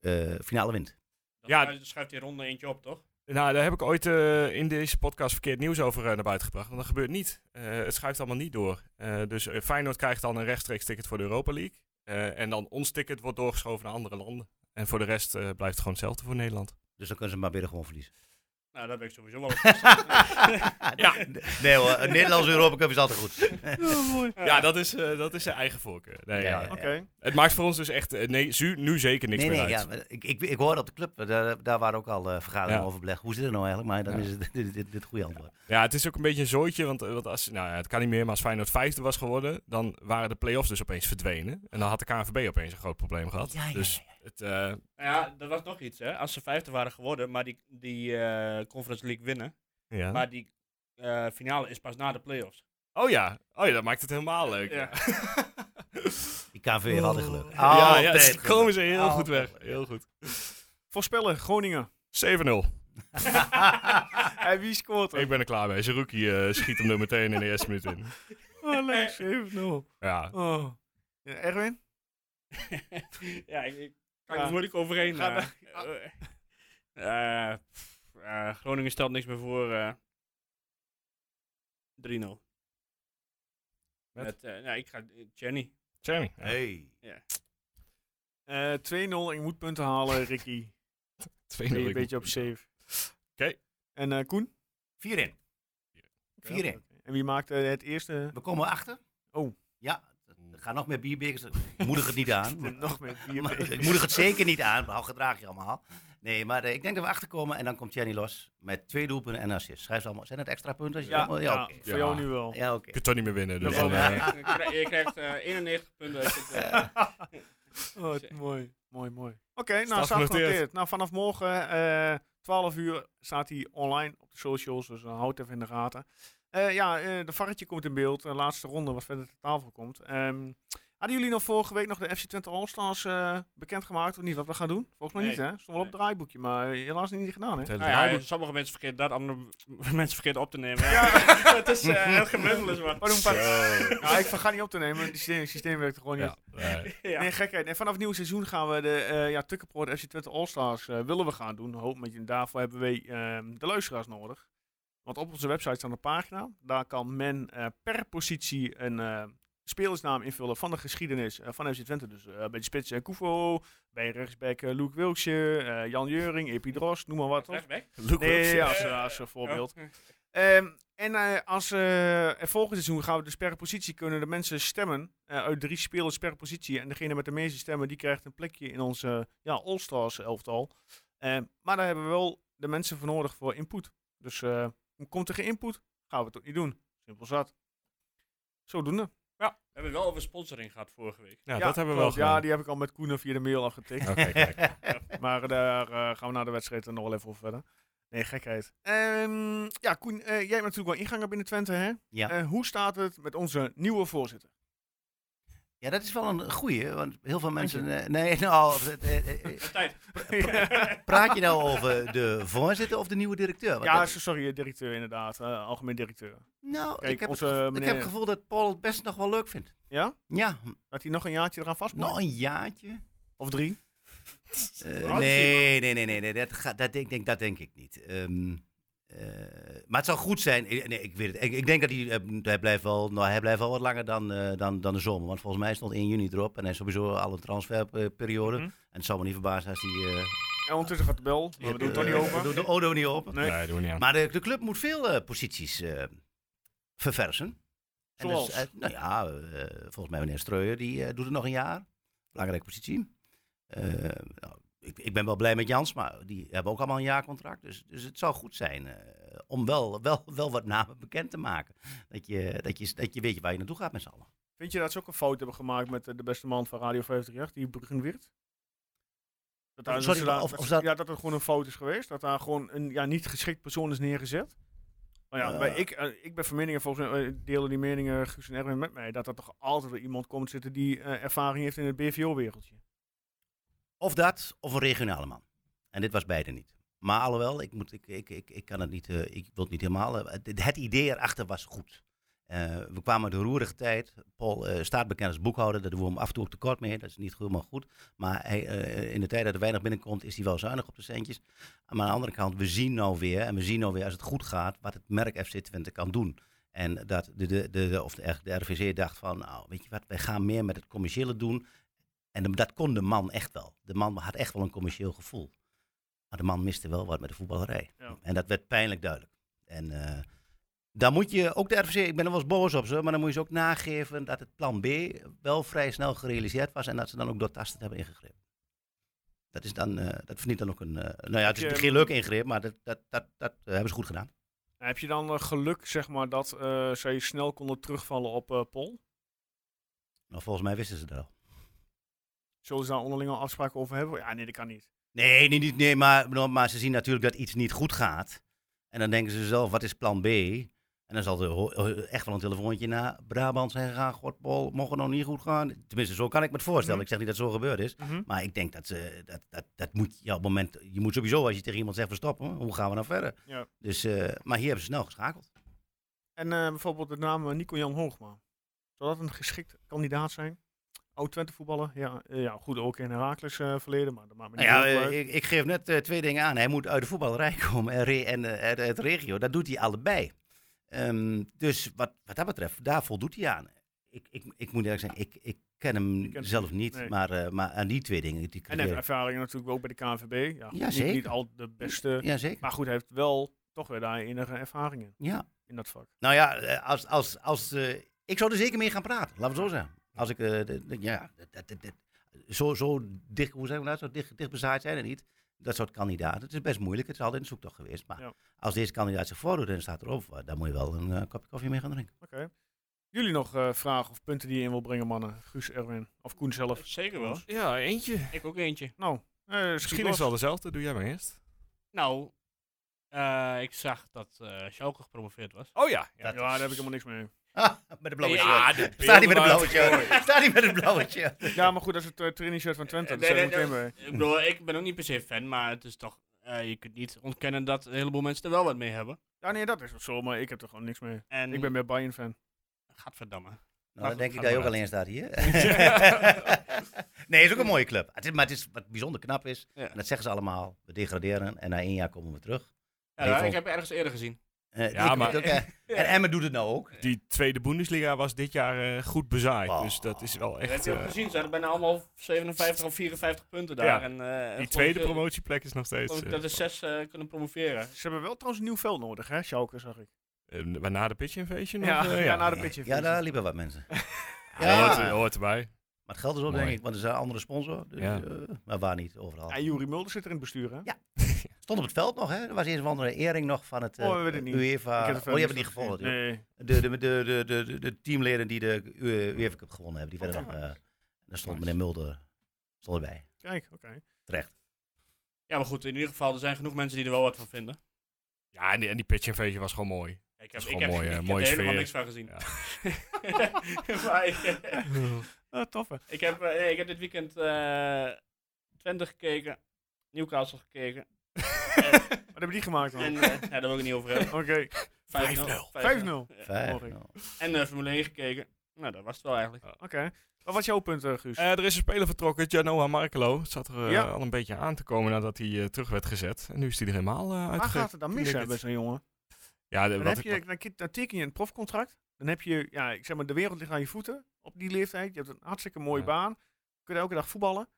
C: eh, finale wint?
F: Dan
B: Ja.
F: schuift- schuift die ronde eentje op, toch?
B: nou, daar heb ik ooit eh, in deze podcast verkeerd nieuws over eh, naar buiten gebracht. Want dat gebeurt niet. Eh, het schuift allemaal niet door. Eh, dus eh, Feyenoord krijgt dan een rechtstreeks ticket voor de Europa League. Eh, en dan ons ticket wordt doorgeschoven naar andere landen. En voor de rest eh, blijft het gewoon hetzelfde voor Nederland.
C: Dus dan kunnen ze maar weer gewoon verliezen.
F: Nou, dat ben ik sowieso wel op vast.
B: Ja.
C: Nee hoor, een Nederlandse Europa Cup is altijd goed.
B: Ja, dat is, eh, dat is zijn eigen voorkeur. Nee,
C: Ja,
B: ja,
C: ja.
A: Oké.
B: Het maakt voor ons dus echt eh, nee, zu- nu zeker niks
C: nee,
B: meer
C: nee,
B: uit.
C: ja, maar ik, ik, ik hoor op de club, daar, daar waren ook al eh, vergaderingen
B: Ja.
C: over belegd. Hoe zit het nou eigenlijk? Maar dan
B: Ja.
C: is het dit, dit, dit het goede antwoord.
B: Ja, het is ook een beetje een zooitje, want, eh, want als, nou ja, het kan niet meer, maar als Feyenoord vijfde was geworden, dan waren de play-offs dus opeens verdwenen. En dan had de KNVB opeens een groot probleem gehad.
C: Ja, ja,
B: dus het, eh,
F: Nou ja, dat was nog iets, hè. Als ze vijfde waren geworden, maar die, die eh, Conference League winnen.
B: ja.
F: Maar die eh, finale is pas na de play-offs.
B: oh, ja. oh ja, dat maakt het helemaal leuk.
F: Ja.
C: Die KNV heeft altijd geluk.
B: Oh. ja, ja
C: Altijd
B: dus
C: geluk.
B: komen ze heel goed
C: Altijd
B: weg.
C: geluk.
B: Heel goed.
A: Voorspellen, Groningen.
B: 7-0.
A: En wie scoort er?
B: Ik ben er klaar mee. Zerouki eh, schiet hem er meteen in de eerste minuut in.
A: Oh, leuk, 7-0.
B: Ja,
A: Oh. Ja, Erwin?
F: ja, ik, ik kan
A: Ja.
F: er moeilijk overheen.
A: Ga
F: eh. Eh, eh, pff, eh, Groningen stelt niks meer voor. eh 3-0.
B: Met?
F: Met, eh, nou, ik ga Jenny.
B: Jeremy. Ja.
C: Hey.
A: Eh, 2-0, ik moet punten halen, Ricky.
B: 2-0.
A: Ben je een
B: Ik-
A: beetje op safe.
B: Oké.
A: En eh, Koen?
C: 4 in. 4 in.
A: En wie maakt eh, het eerste?
C: We komen achter.
A: Oh.
C: Ja, er gaan nog meer bierbekers. Ik moedig het niet aan. maar-
A: Nog meer bier
C: maar
A: mee.
C: ik moedig het zeker niet aan. Maar gedraag je allemaal. Nee, maar eh, ik denk dat we achterkomen en dan komt Jenny los met twee doelpunten en assist. Schrijf ze allemaal. Zijn het extra punten? Als je
A: Ja,
C: Dus allemaal-
A: ja,
C: oké.
A: voor jou nu wel.
C: Ja, oké.
B: Je kunt toch niet meer winnen. Dus,
A: Dat
B: dan,
A: wel.
B: eh,
F: Je krijgt- Je krijgt eh, 91 punten. als je het, eh,
A: Oh, het-
F: Zeker.
A: mooi, mooi, mooi. Oké, nou
B: Staat
A: staat
B: genoteerd.
A: genoteerd. Nou, vanaf morgen eh 12 uur staat hij online op de socials, dus eh, houd even in de gaten. Eh, ja, eh, de varretje komt in beeld, de laatste ronde wat verder ter tafel komt. Ehm, hadden jullie nog vorige week nog de FC Twente All-Stars eh, bekendgemaakt of niet, wat we gaan doen? Volgens mij
F: Nee.
A: niet, hè? Stond wel op het
F: Nee.
A: draaiboekje, maar eh, helaas niet gedaan, hè?
B: het hele
F: nou ja,
B: draaiboek.
F: sommige mensen vergeten dat, andere mensen vergeten op te nemen. Ja, het is eh, heel gemiddeld is wat.
A: Maar doen we- Nou, ik verga niet op te nemen, het systeem, systeem werkt er gewoon niet.
B: Ja, eh,
F: Ja.
A: Nee, gekheid. En vanaf het nieuwe seizoen gaan we de eh ja, Tukkenport FC Twente All-Stars eh, willen we gaan doen. Hoop met je. Daarvoor hebben we ehm, de luisteraars nodig. Want op onze website staat een pagina. Daar kan men eh, per positie een eh, spelersnaam invullen van de geschiedenis eh, van FC Twente. Dus eh, bij de spits eh, Koevo, bij rechtsback eh, Luke Wilksje, eh, Jan Jeuring, Epi Drost, noem maar wat. Toch?
F: Recht weg.
B: Luke Wilson.
A: Nee, als,
F: eh,
A: als eh, voorbeeld.
F: Ja.
A: Ehm, en eh, als, eh, en volgend seizoen gaan we dus per positie kunnen de mensen stemmen. eh, uit drie spelers per positie. En degene met de meeste stemmen die krijgt een plekje in onze eh, ja, All-Stars elftal. Ehm, maar daar hebben we wel de mensen voor nodig voor input. Dus eh, komt er geen input, gaan we het ook niet doen. Simpel zat. Zodoende.
F: We hebben het wel over sponsoring gehad vorige week.
B: Ja, dat hebben we wel
A: klopt. Ja,
B: gedaan.
A: die heb ik al met Koenen via de mail afgetikt.
B: Oké, kijk.
A: Maar daar eh, gaan we na de wedstrijd dan nog wel even over verder. Nee, gekheid. Ehm, ja, Koen, eh, jij hebt natuurlijk wel ingangen binnen Twente, hè?
C: Ja.
A: Eh, hoe staat het met onze nieuwe voorzitter?
C: Ja, dat is wel een goeie, want heel veel mensen... eh, nee, nou, eh, eh, eh,
F: Tijd.
C: praat je nou over de voorzitter of de nieuwe directeur? Want
A: ja,
C: dat-
A: s- sorry, eh, directeur inderdaad. eh, algemeen directeur.
C: nou,
A: Kijk,
C: ik, heb
A: onze
C: het, gevo- ik
A: meneer-
C: heb het gevoel dat Paul het best nog wel leuk vindt.
A: Ja?
C: Ja,
A: Dat hij nog een jaartje eraan vastmaakt?
C: nog een jaartje.
A: Of drie?
C: Eh,
F: Wat?
C: nee, nee, nee, nee, nee, dat, gaat, dat, denk, denk, dat denk ik niet. Ehm, eh, maar het zou goed zijn. eh, Nee, ik weet het. Ik, ik denk dat hij, eh, hij, blijft wel, nou, hij blijft wel wat langer dan, eh, dan, dan de zomer. Want volgens mij stond 1 juni erop. En hij is sowieso al een transferperiode.
A: Mhm.
C: En het zou me niet verbazen als hij... eh,
A: En ondertussen gaat de bel. Maar we doen het toch niet
C: eh,
A: open.
C: we doen de Odo niet open.
A: Nee.
B: Nee, doen we niet aan.
C: Maar de, de club moet veel eh, posities eh, verversen. En
A: Zoals?
C: eh, nou ja, eh, volgens mij meneer Streuer, die eh, doet het nog een jaar. Belangrijke positie. Eh, nou, ik, ik ben wel blij met Jans, maar die hebben ook allemaal een jaarcontract. Dus, dus het zou goed zijn eh, om wel, wel, wel wat namen bekend te maken. Dat je, dat, je, dat je weet waar je naartoe gaat met z'n allen.
A: Vind je dat ze ook een fout hebben gemaakt met eh, de beste man van Radio 538, die Bruggen Wirt? Dat daar,
C: Oh,
A: dus
C: Sorry,
A: dat ze daar-
C: of-
A: dat
C: of
A: ze-
C: dat-
A: Ja, dat er gewoon een fout is geweest. Dat daar gewoon een ja, niet geschikt persoon is neergezet. Maar ja,
C: Eh.
A: wij- ik, eh, ik ben van mening, en volgens mij eh, delen die meningen Guus en Erwin met mij, dat er toch altijd wel iemand komt zitten die eh, ervaring heeft in het BVO-wereldje.
C: Of dat, of een regionale man. En dit was beide niet. Maar alhoewel, ik, moet, ik, ik, ik, ik kan het niet, eh, ik wil het niet helemaal. eh, het, het idee erachter was goed. Eh, we kwamen uit een roerige tijd. Paul eh, staat bekend als boekhouder, daar doen we hem af en toe ook tekort mee. Dat is niet helemaal goed. Maar hij, eh, in de tijd dat er weinig binnenkomt, is hij wel zuinig op de centjes. Maar aan de andere kant, we zien nou weer, en we zien nou weer als het goed gaat, wat het merk FC Twente kan doen. En dat de, de, de, de- of de, R- de RVC dacht van, nou, weet je wat, wij gaan meer met het commerciële doen. En dat kon de man echt wel. De man had echt wel een commercieel gevoel. Maar de man miste wel wat met de voetballerij.
A: Ja.
C: En dat werd pijnlijk duidelijk. En eh dan moet je ook de RVC, ik ben er wel eens boos op ze, maar dan moet je ze ook nageven dat het plan B wel vrij snel gerealiseerd was en dat ze dan ook doortastend hebben ingegrepen. Dat is dan, eh, dat verdient dan ook een, eh, nou ja, het
A: Heb
C: is
A: je-
C: geen leuk ingreep, maar dat, dat, dat, dat eh, hebben ze goed gedaan.
A: En Heb je dan eh, geluk, zeg maar, dat eh, zij snel konden terugvallen op eh Pol?
C: Nou, volgens mij wisten ze dat al.
A: Zullen ze daar onderling al afspraken over hebben? Ja, nee, dat kan niet.
C: Nee, nee, niet, nee maar, no- maar ze zien natuurlijk dat iets niet goed gaat. En dan denken ze zelf, wat is plan B? En dan zal er ho- ho- echt wel een telefoontje naar Brabant zijn gegaan. God, Paul, mocht het nog niet goed gaan? Tenminste, zo kan ik me het voorstellen.
A: Mhm.
C: Ik zeg niet dat het zo gebeurd is. Maar ik denk dat, ze, dat, dat, dat moet je op het moment... Je moet sowieso, als je tegen iemand zegt, van stop, hè, hoe gaan we nou verder?
A: Ja.
C: Dus, eh, maar hier hebben ze snel geschakeld.
A: En eh, bijvoorbeeld de naam eh, Nico Jan Hoogma. Zou dat een geschikt kandidaat zijn? Oud Twente voetballer. Ja, eh, ja goed, ook in Herakles eh, verleden, maar dat maakt me niet
C: Nou ja,
A: heel veel uit.
C: eh, ik, ik geef net eh, twee dingen aan. Hij moet uit de voetballerij komen en, re- en eh, uit het regio. Dat doet hij allebei. Ehm, dus wat, wat dat betreft, daar voldoet hij aan. Ik, ik, ik moet eerlijk zeggen, ik, ik ken hem
A: kent hem
C: zelf niet.
A: nee.
C: Maar, eh, maar aan die twee
A: En
C: dingen. Die
A: hij heeft
C: criteria-
A: ervaring natuurlijk ook bij de KNVB. Ja, goed,
C: Ja,
A: niet,
C: zeker.
A: niet al de beste.
C: ja, zeker.
A: Maar goed, hij heeft wel toch weer daar enige ervaringen
C: Ja.
A: in dat vak.
C: Nou ja, eh, als, als, als, eh, ik zou er zeker mee gaan praten. Laten we het zo zeggen. Als ik, eh, de- de- ja, dat- dat- dat- dat- zo, zo dicht, hoe zeggen we dat, zo dicht, dicht bezaaid zijn er niet. Dat soort kandidaten. Het is best moeilijk. Het is altijd een zoektocht geweest. Maar
A: Ja.
C: als deze kandidaat zich voordoet en staat erop, eh, dan moet je wel een eh, kopje koffie mee gaan drinken.
A: Oké. Jullie nog eh, vragen of punten die je in wil brengen, mannen? Guus, Erwin of Koen zelf?
F: Zeker wel.
B: Ja, eentje.
F: Ik ook eentje.
A: Nou, eh
B: Misschien is het wel dezelfde. Doe jij maar eerst.
F: Nou, eh, ik zag dat eh Schalke gepromoveerd was.
B: Oh ja.
A: Ja, daar heb ik helemaal niks mee.
C: met een blauwe
F: Ja,
C: shirt. Staat hij met een blauwe
B: beeldenmateriaal.
C: shirt. Staat hij met een blauwe shirt.
A: Ja, maar goed, dat is het uh, trainingsshirt van Twente.
F: Eh,
A: Daar
F: nee,
A: zijn we
F: nee,
A: meteen bij.
F: Ik bedoel, ik ben ook niet per se fan, maar het is toch... eh, je kunt niet ontkennen dat een heleboel mensen er wel wat mee hebben.
A: Ja, nee, dat is wel zo, maar ik heb er gewoon niks mee.
F: En
A: Ik ben meer Bayern-fan.
F: Gadverdamme.
C: Nou, dan denk
B: ga
C: ik dat je
B: maar
C: ook
B: uit.
C: alleen staat hier. nee, het is ook een mooie club. Het is, maar het is wat bijzonder knap is.
F: Ja.
C: En dat zeggen ze allemaal. We degraderen en na één jaar komen we terug.
F: Ja,
C: Nee,
F: ik
C: vond-
F: heb ergens eerder gezien.
C: Eh,
B: Ja,
C: ik weet
B: maar-
C: het ook, eh. En Emmen doet het nou ook.
B: Die tweede Bundesliga was dit jaar eh, goed bezaaid.
C: Oh.
B: Dus dat is wel
F: Dat heb
B: echt...
F: je ook
B: eh,
F: gezien. Ze hadden bijna allemaal 57 of 54 punten daar.
B: Ja,
F: en, eh, en
B: die
F: vond
B: tweede
F: ik, eh,
B: promotieplek is nog steeds...
F: vond ik
B: eh,
F: dat er zes eh, kunnen promoveren.
A: Ze hebben wel trouwens een nieuw veld nodig, hè? Schalke, zag ik.
B: eh, maar na de pitch invasion?
A: Ja,
B: of, eh,
A: ja, na de pitch
C: Ja,
A: invasion.
C: daar liepen wat mensen.
B: Ja,
C: Ja.
B: Hoort, hoort erbij.
C: Maar het geld is op,
B: Mooi.
C: denk ik, want er is een andere sponsor. Dus,
B: Ja.
C: eh, maar waar niet, overal.
A: En Juri Mulder zit er in het bestuur, hè?
C: Ja. Stond op het veld nog, hè? Er was eerst een of andere ering nog van het eh,
A: Oh, we weten het niet.
C: UEFA.
A: heb er verder
C: Oh, die hebben
A: niks
C: niet
A: van
C: gevolgd.
A: gezien. Nee.
C: De, de, de, de, de, de- de teamleden die de U- eh, UEFA Cup gewonnen hebben, die werden nog... eh, daar stond meneer Mulder stond erbij.
A: Kijk, oké.
C: Terecht.
F: Ja, maar goed, in ieder geval, er zijn genoeg mensen die er wel wat van vinden.
B: Ja, en die, en die pitch invasion was gewoon mooi.
F: Ik
B: Dat
F: heb,
B: is
F: ik
B: gewoon
F: heb,
B: mooi,
F: ik
B: eh,
F: heb
B: mooie
F: er helemaal
B: sfeer.
F: niks van gezien.
B: Ja.
F: maar eh, ik,
A: Ah, tof, hè?
F: ik heb, eh, ik heb dit weekend eh Twente gekeken, Newcastle gekeken.
A: Wat hebben die gemaakt,
F: En
A: dan?
F: eh, ja, daar wil ik het niet over hebben.
A: Oké,
F: 5-0.
A: 5-0.
F: Ja.
C: Vijf,
A: Mooi.
C: nou.
F: En eh, Formule 1 gekeken. Nou, dat was het wel eigenlijk.
A: Oké. Maar Wat is jouw punt, eh, Guus?
B: Eh, er is een speler vertrokken, Genoa Markelo. Het zat er eh,
A: Ja.
B: al een beetje aan te komen nadat hij eh, terug werd gezet. En nu is hij er helemaal eh
A: Waar
B: uitge-
A: gaat het dan mis,
B: knikkerd.
A: hè, bij zo'n jongen?
B: Ja, de-
A: Dan,
B: Eh, wat
A: heb
B: ik-
A: je, dan, ki- dan teken je een profcontract. Dan heb je, ja, ik zeg maar, de wereld ligt aan je voeten op die leeftijd. Je hebt een hartstikke mooie
B: Ja.
A: baan. Je kunt elke dag voetballen.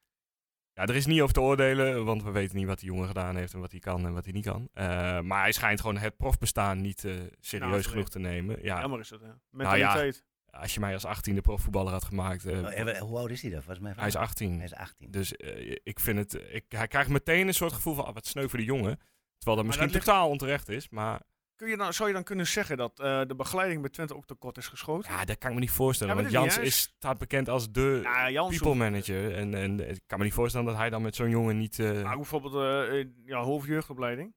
B: Ja, er is niet over te oordelen, want we weten niet wat die jongen gedaan heeft en wat hij kan en wat hij niet kan. Eh, maar hij schijnt gewoon het profbestaan niet eh, serieus
A: Nou,
B: genoeg te nemen. Ja,
A: Jammer is dat, hè?
B: Nou ja.
A: Mentaliteit.
B: als je mij als 18e profvoetballer had gemaakt, eh,
A: Oh,
C: Nou, en Hoe oud is hij dan? Volgens mij
B: hij is 18.
C: Hij is 18.
B: Dus eh, ik vind het, ik, hij krijgt meteen een soort gevoel van, ah, wat sneu voor de jongen. Terwijl dat misschien
A: dat ligt-
B: totaal onterecht is, maar
A: Kun je dan, zou je dan kunnen zeggen dat eh, de begeleiding bij Twente ook tekort is geschoten?
B: ja, dat kan ik me niet voorstellen.
A: Ja, maar
B: want
A: dat is
B: Jans
A: niet
B: is,
A: juist.
B: staat bekend als de
A: Ja, Jans
B: people manager. En, en eh, ik kan me niet voorstellen dat hij dan met zo'n jongen niet... eh,
A: Maar bijvoorbeeld eh, eh, ja, hoofdjeugdopleiding.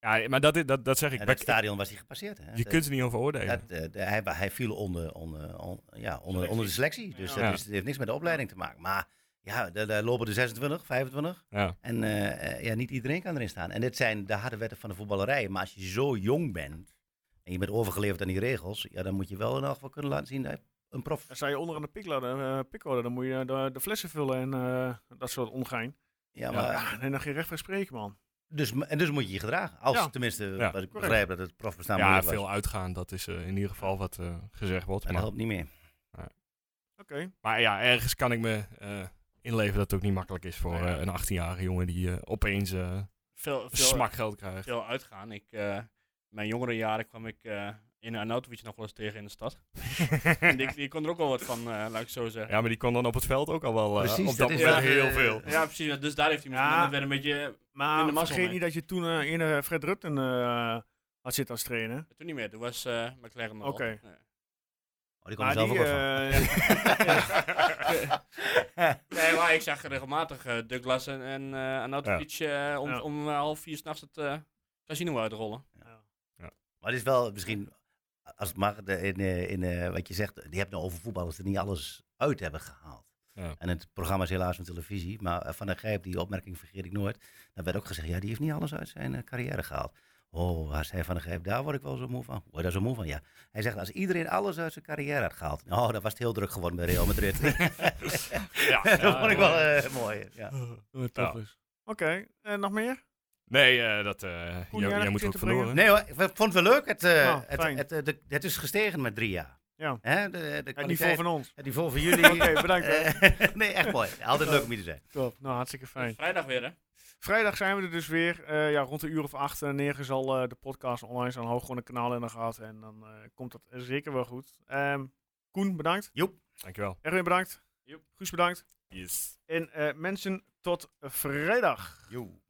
B: ja, maar dat, is- dat, dat zeg ik.
C: En
B: maar
C: dat
B: ik-
C: stadion was hij gepasseerd. Hè?
B: je
C: Dat-
B: kunt er niet over oordelen.
C: Dat, eh, de- hij, hij viel onder, onder, on- ja, onder,
F: Selectie.
C: onder de selectie. Dus
F: Ja.
C: dat
B: Ja.
C: is, het heeft niks met de opleiding te maken. Maar ja, daar, daar lopen er 26, 25.
B: ja.
C: En eh, eh, ja, niet iedereen kan erin staan. En dit zijn de harde wetten van de voetballerij. Maar als je zo jong bent en je bent overgeleverd aan die regels, ja, dan moet je wel in elk geval kunnen laten zien dat je een prof.
A: Dan sta je onderaan de pikladder, eh, pikladder. Dan moet je eh, de, de flessen vullen en eh, dat soort ongein.
C: Ja, maar,
A: Ja, en dan geen recht van spreken, man.
C: Dus, en dus moet je je gedragen. Als
A: Ja.
C: tenminste,
B: Ja,
C: wat ik
A: correct.
C: begrijp dat het profbestaan
B: Ja,
C: Nou, moeilijk was.
B: veel uitgaan, dat is eh, in ieder geval wat eh, gezegd wordt.
C: En dat
B: Maar,
C: helpt niet meer.
A: Oké.
B: maar ja, ergens kan ik me eh, inleven dat het ook niet makkelijk is voor
F: Nou ja.
B: eh, een 18-jarige jongen die eh, opeens eh
F: Veel, veel,
B: smak geld krijgt.
F: veel uitgaan. Ik, eh, mijn jongere jaren kwam ik eh, in Arnautovic nog wel eens tegen in de stad. En die, die kon er ook wel wat van, eh, laat ik het zo zeggen.
B: Ja, maar die kon dan op het veld ook al wel eh,
C: Precies,
B: op
C: dat
B: dat
C: is
B: moment
F: wel,
B: heel
C: eh,
B: veel.
F: Ja, precies. Dus daar heeft hij misschien
A: Ja.
F: dan weer een beetje... In de
A: Maar
F: mazzel,
A: vergeet
F: hè?
A: niet dat je toen eh, in eh, Fred Rutten eh, had zitten als trainer.
F: Toen niet meer. Toen was eh McLaren nog wel.
A: Oké.
F: Ja.
C: Oh, die komt
A: Maar
C: zelf
A: die,
C: ook wel
A: eh,
F: Nee, maar ik zag regelmatig eh Douglas en, en eh, Arnautovic eh, om,
A: Ja.
F: om eh, half vier s'nachts het eh, casino uitrollen.
C: Maar het is wel misschien, als het mag, de- in, eh, in, eh, wat je zegt, die hebt nou over voetballers die niet alles uit hebben gehaald.
B: Ja.
C: En het programma is helaas van televisie, maar eh, Van der Grijp, die opmerking vergeet ik nooit. Dan werd ook gezegd, ja, die heeft niet alles uit zijn eh, carrière gehaald. Oh, waar zei Van der Grijp, daar word ik wel zo moe van. Word je daar zo moe van, ja. Hij zegt, als iedereen alles uit zijn carrière had gehaald, nou, dan was het heel druk geworden bij Real Madrid.
B: Ja,
C: dat
B: ja,
C: vond ik wel eh, mooi, ja.
B: tof
A: Oké, eh, nog meer?
B: Nee, eh, dat, eh
A: Goed
B: jij,
A: jaar
B: jij
A: dat
B: moet
A: je
B: ook
A: te brengen.
B: verloren.
C: Nee hoor, ik vond het wel leuk. Het, eh,
A: Nou,
C: het,
A: fijn.
C: het, eh, de- het is gestegen met drie jaar.
A: Ja.
C: Hè, de, de
A: Het
C: kwaliteit-
A: niveau van ons.
C: Het niveau van jullie.
A: Oké, bedankt, hè.
C: Eh, nee, echt mooi. Altijd leuk om hier te zijn.
A: Top. Nou, hartstikke fijn.
F: Vrijdag weer, hè?
A: Vrijdag zijn we er dus weer. Eh, ja, rond een uur of acht eh, negen zal eh, de podcast online zijn. Hou gewoon een kanaal in de gaten en dan eh, komt dat zeker wel goed. Ehm, Koen, bedankt.
B: Dankjewel.
A: Erwin, bedankt.
F: Joep.
A: Guus, bedankt.
B: Yes.
A: En eh, mensen, tot vrijdag.
C: Joe.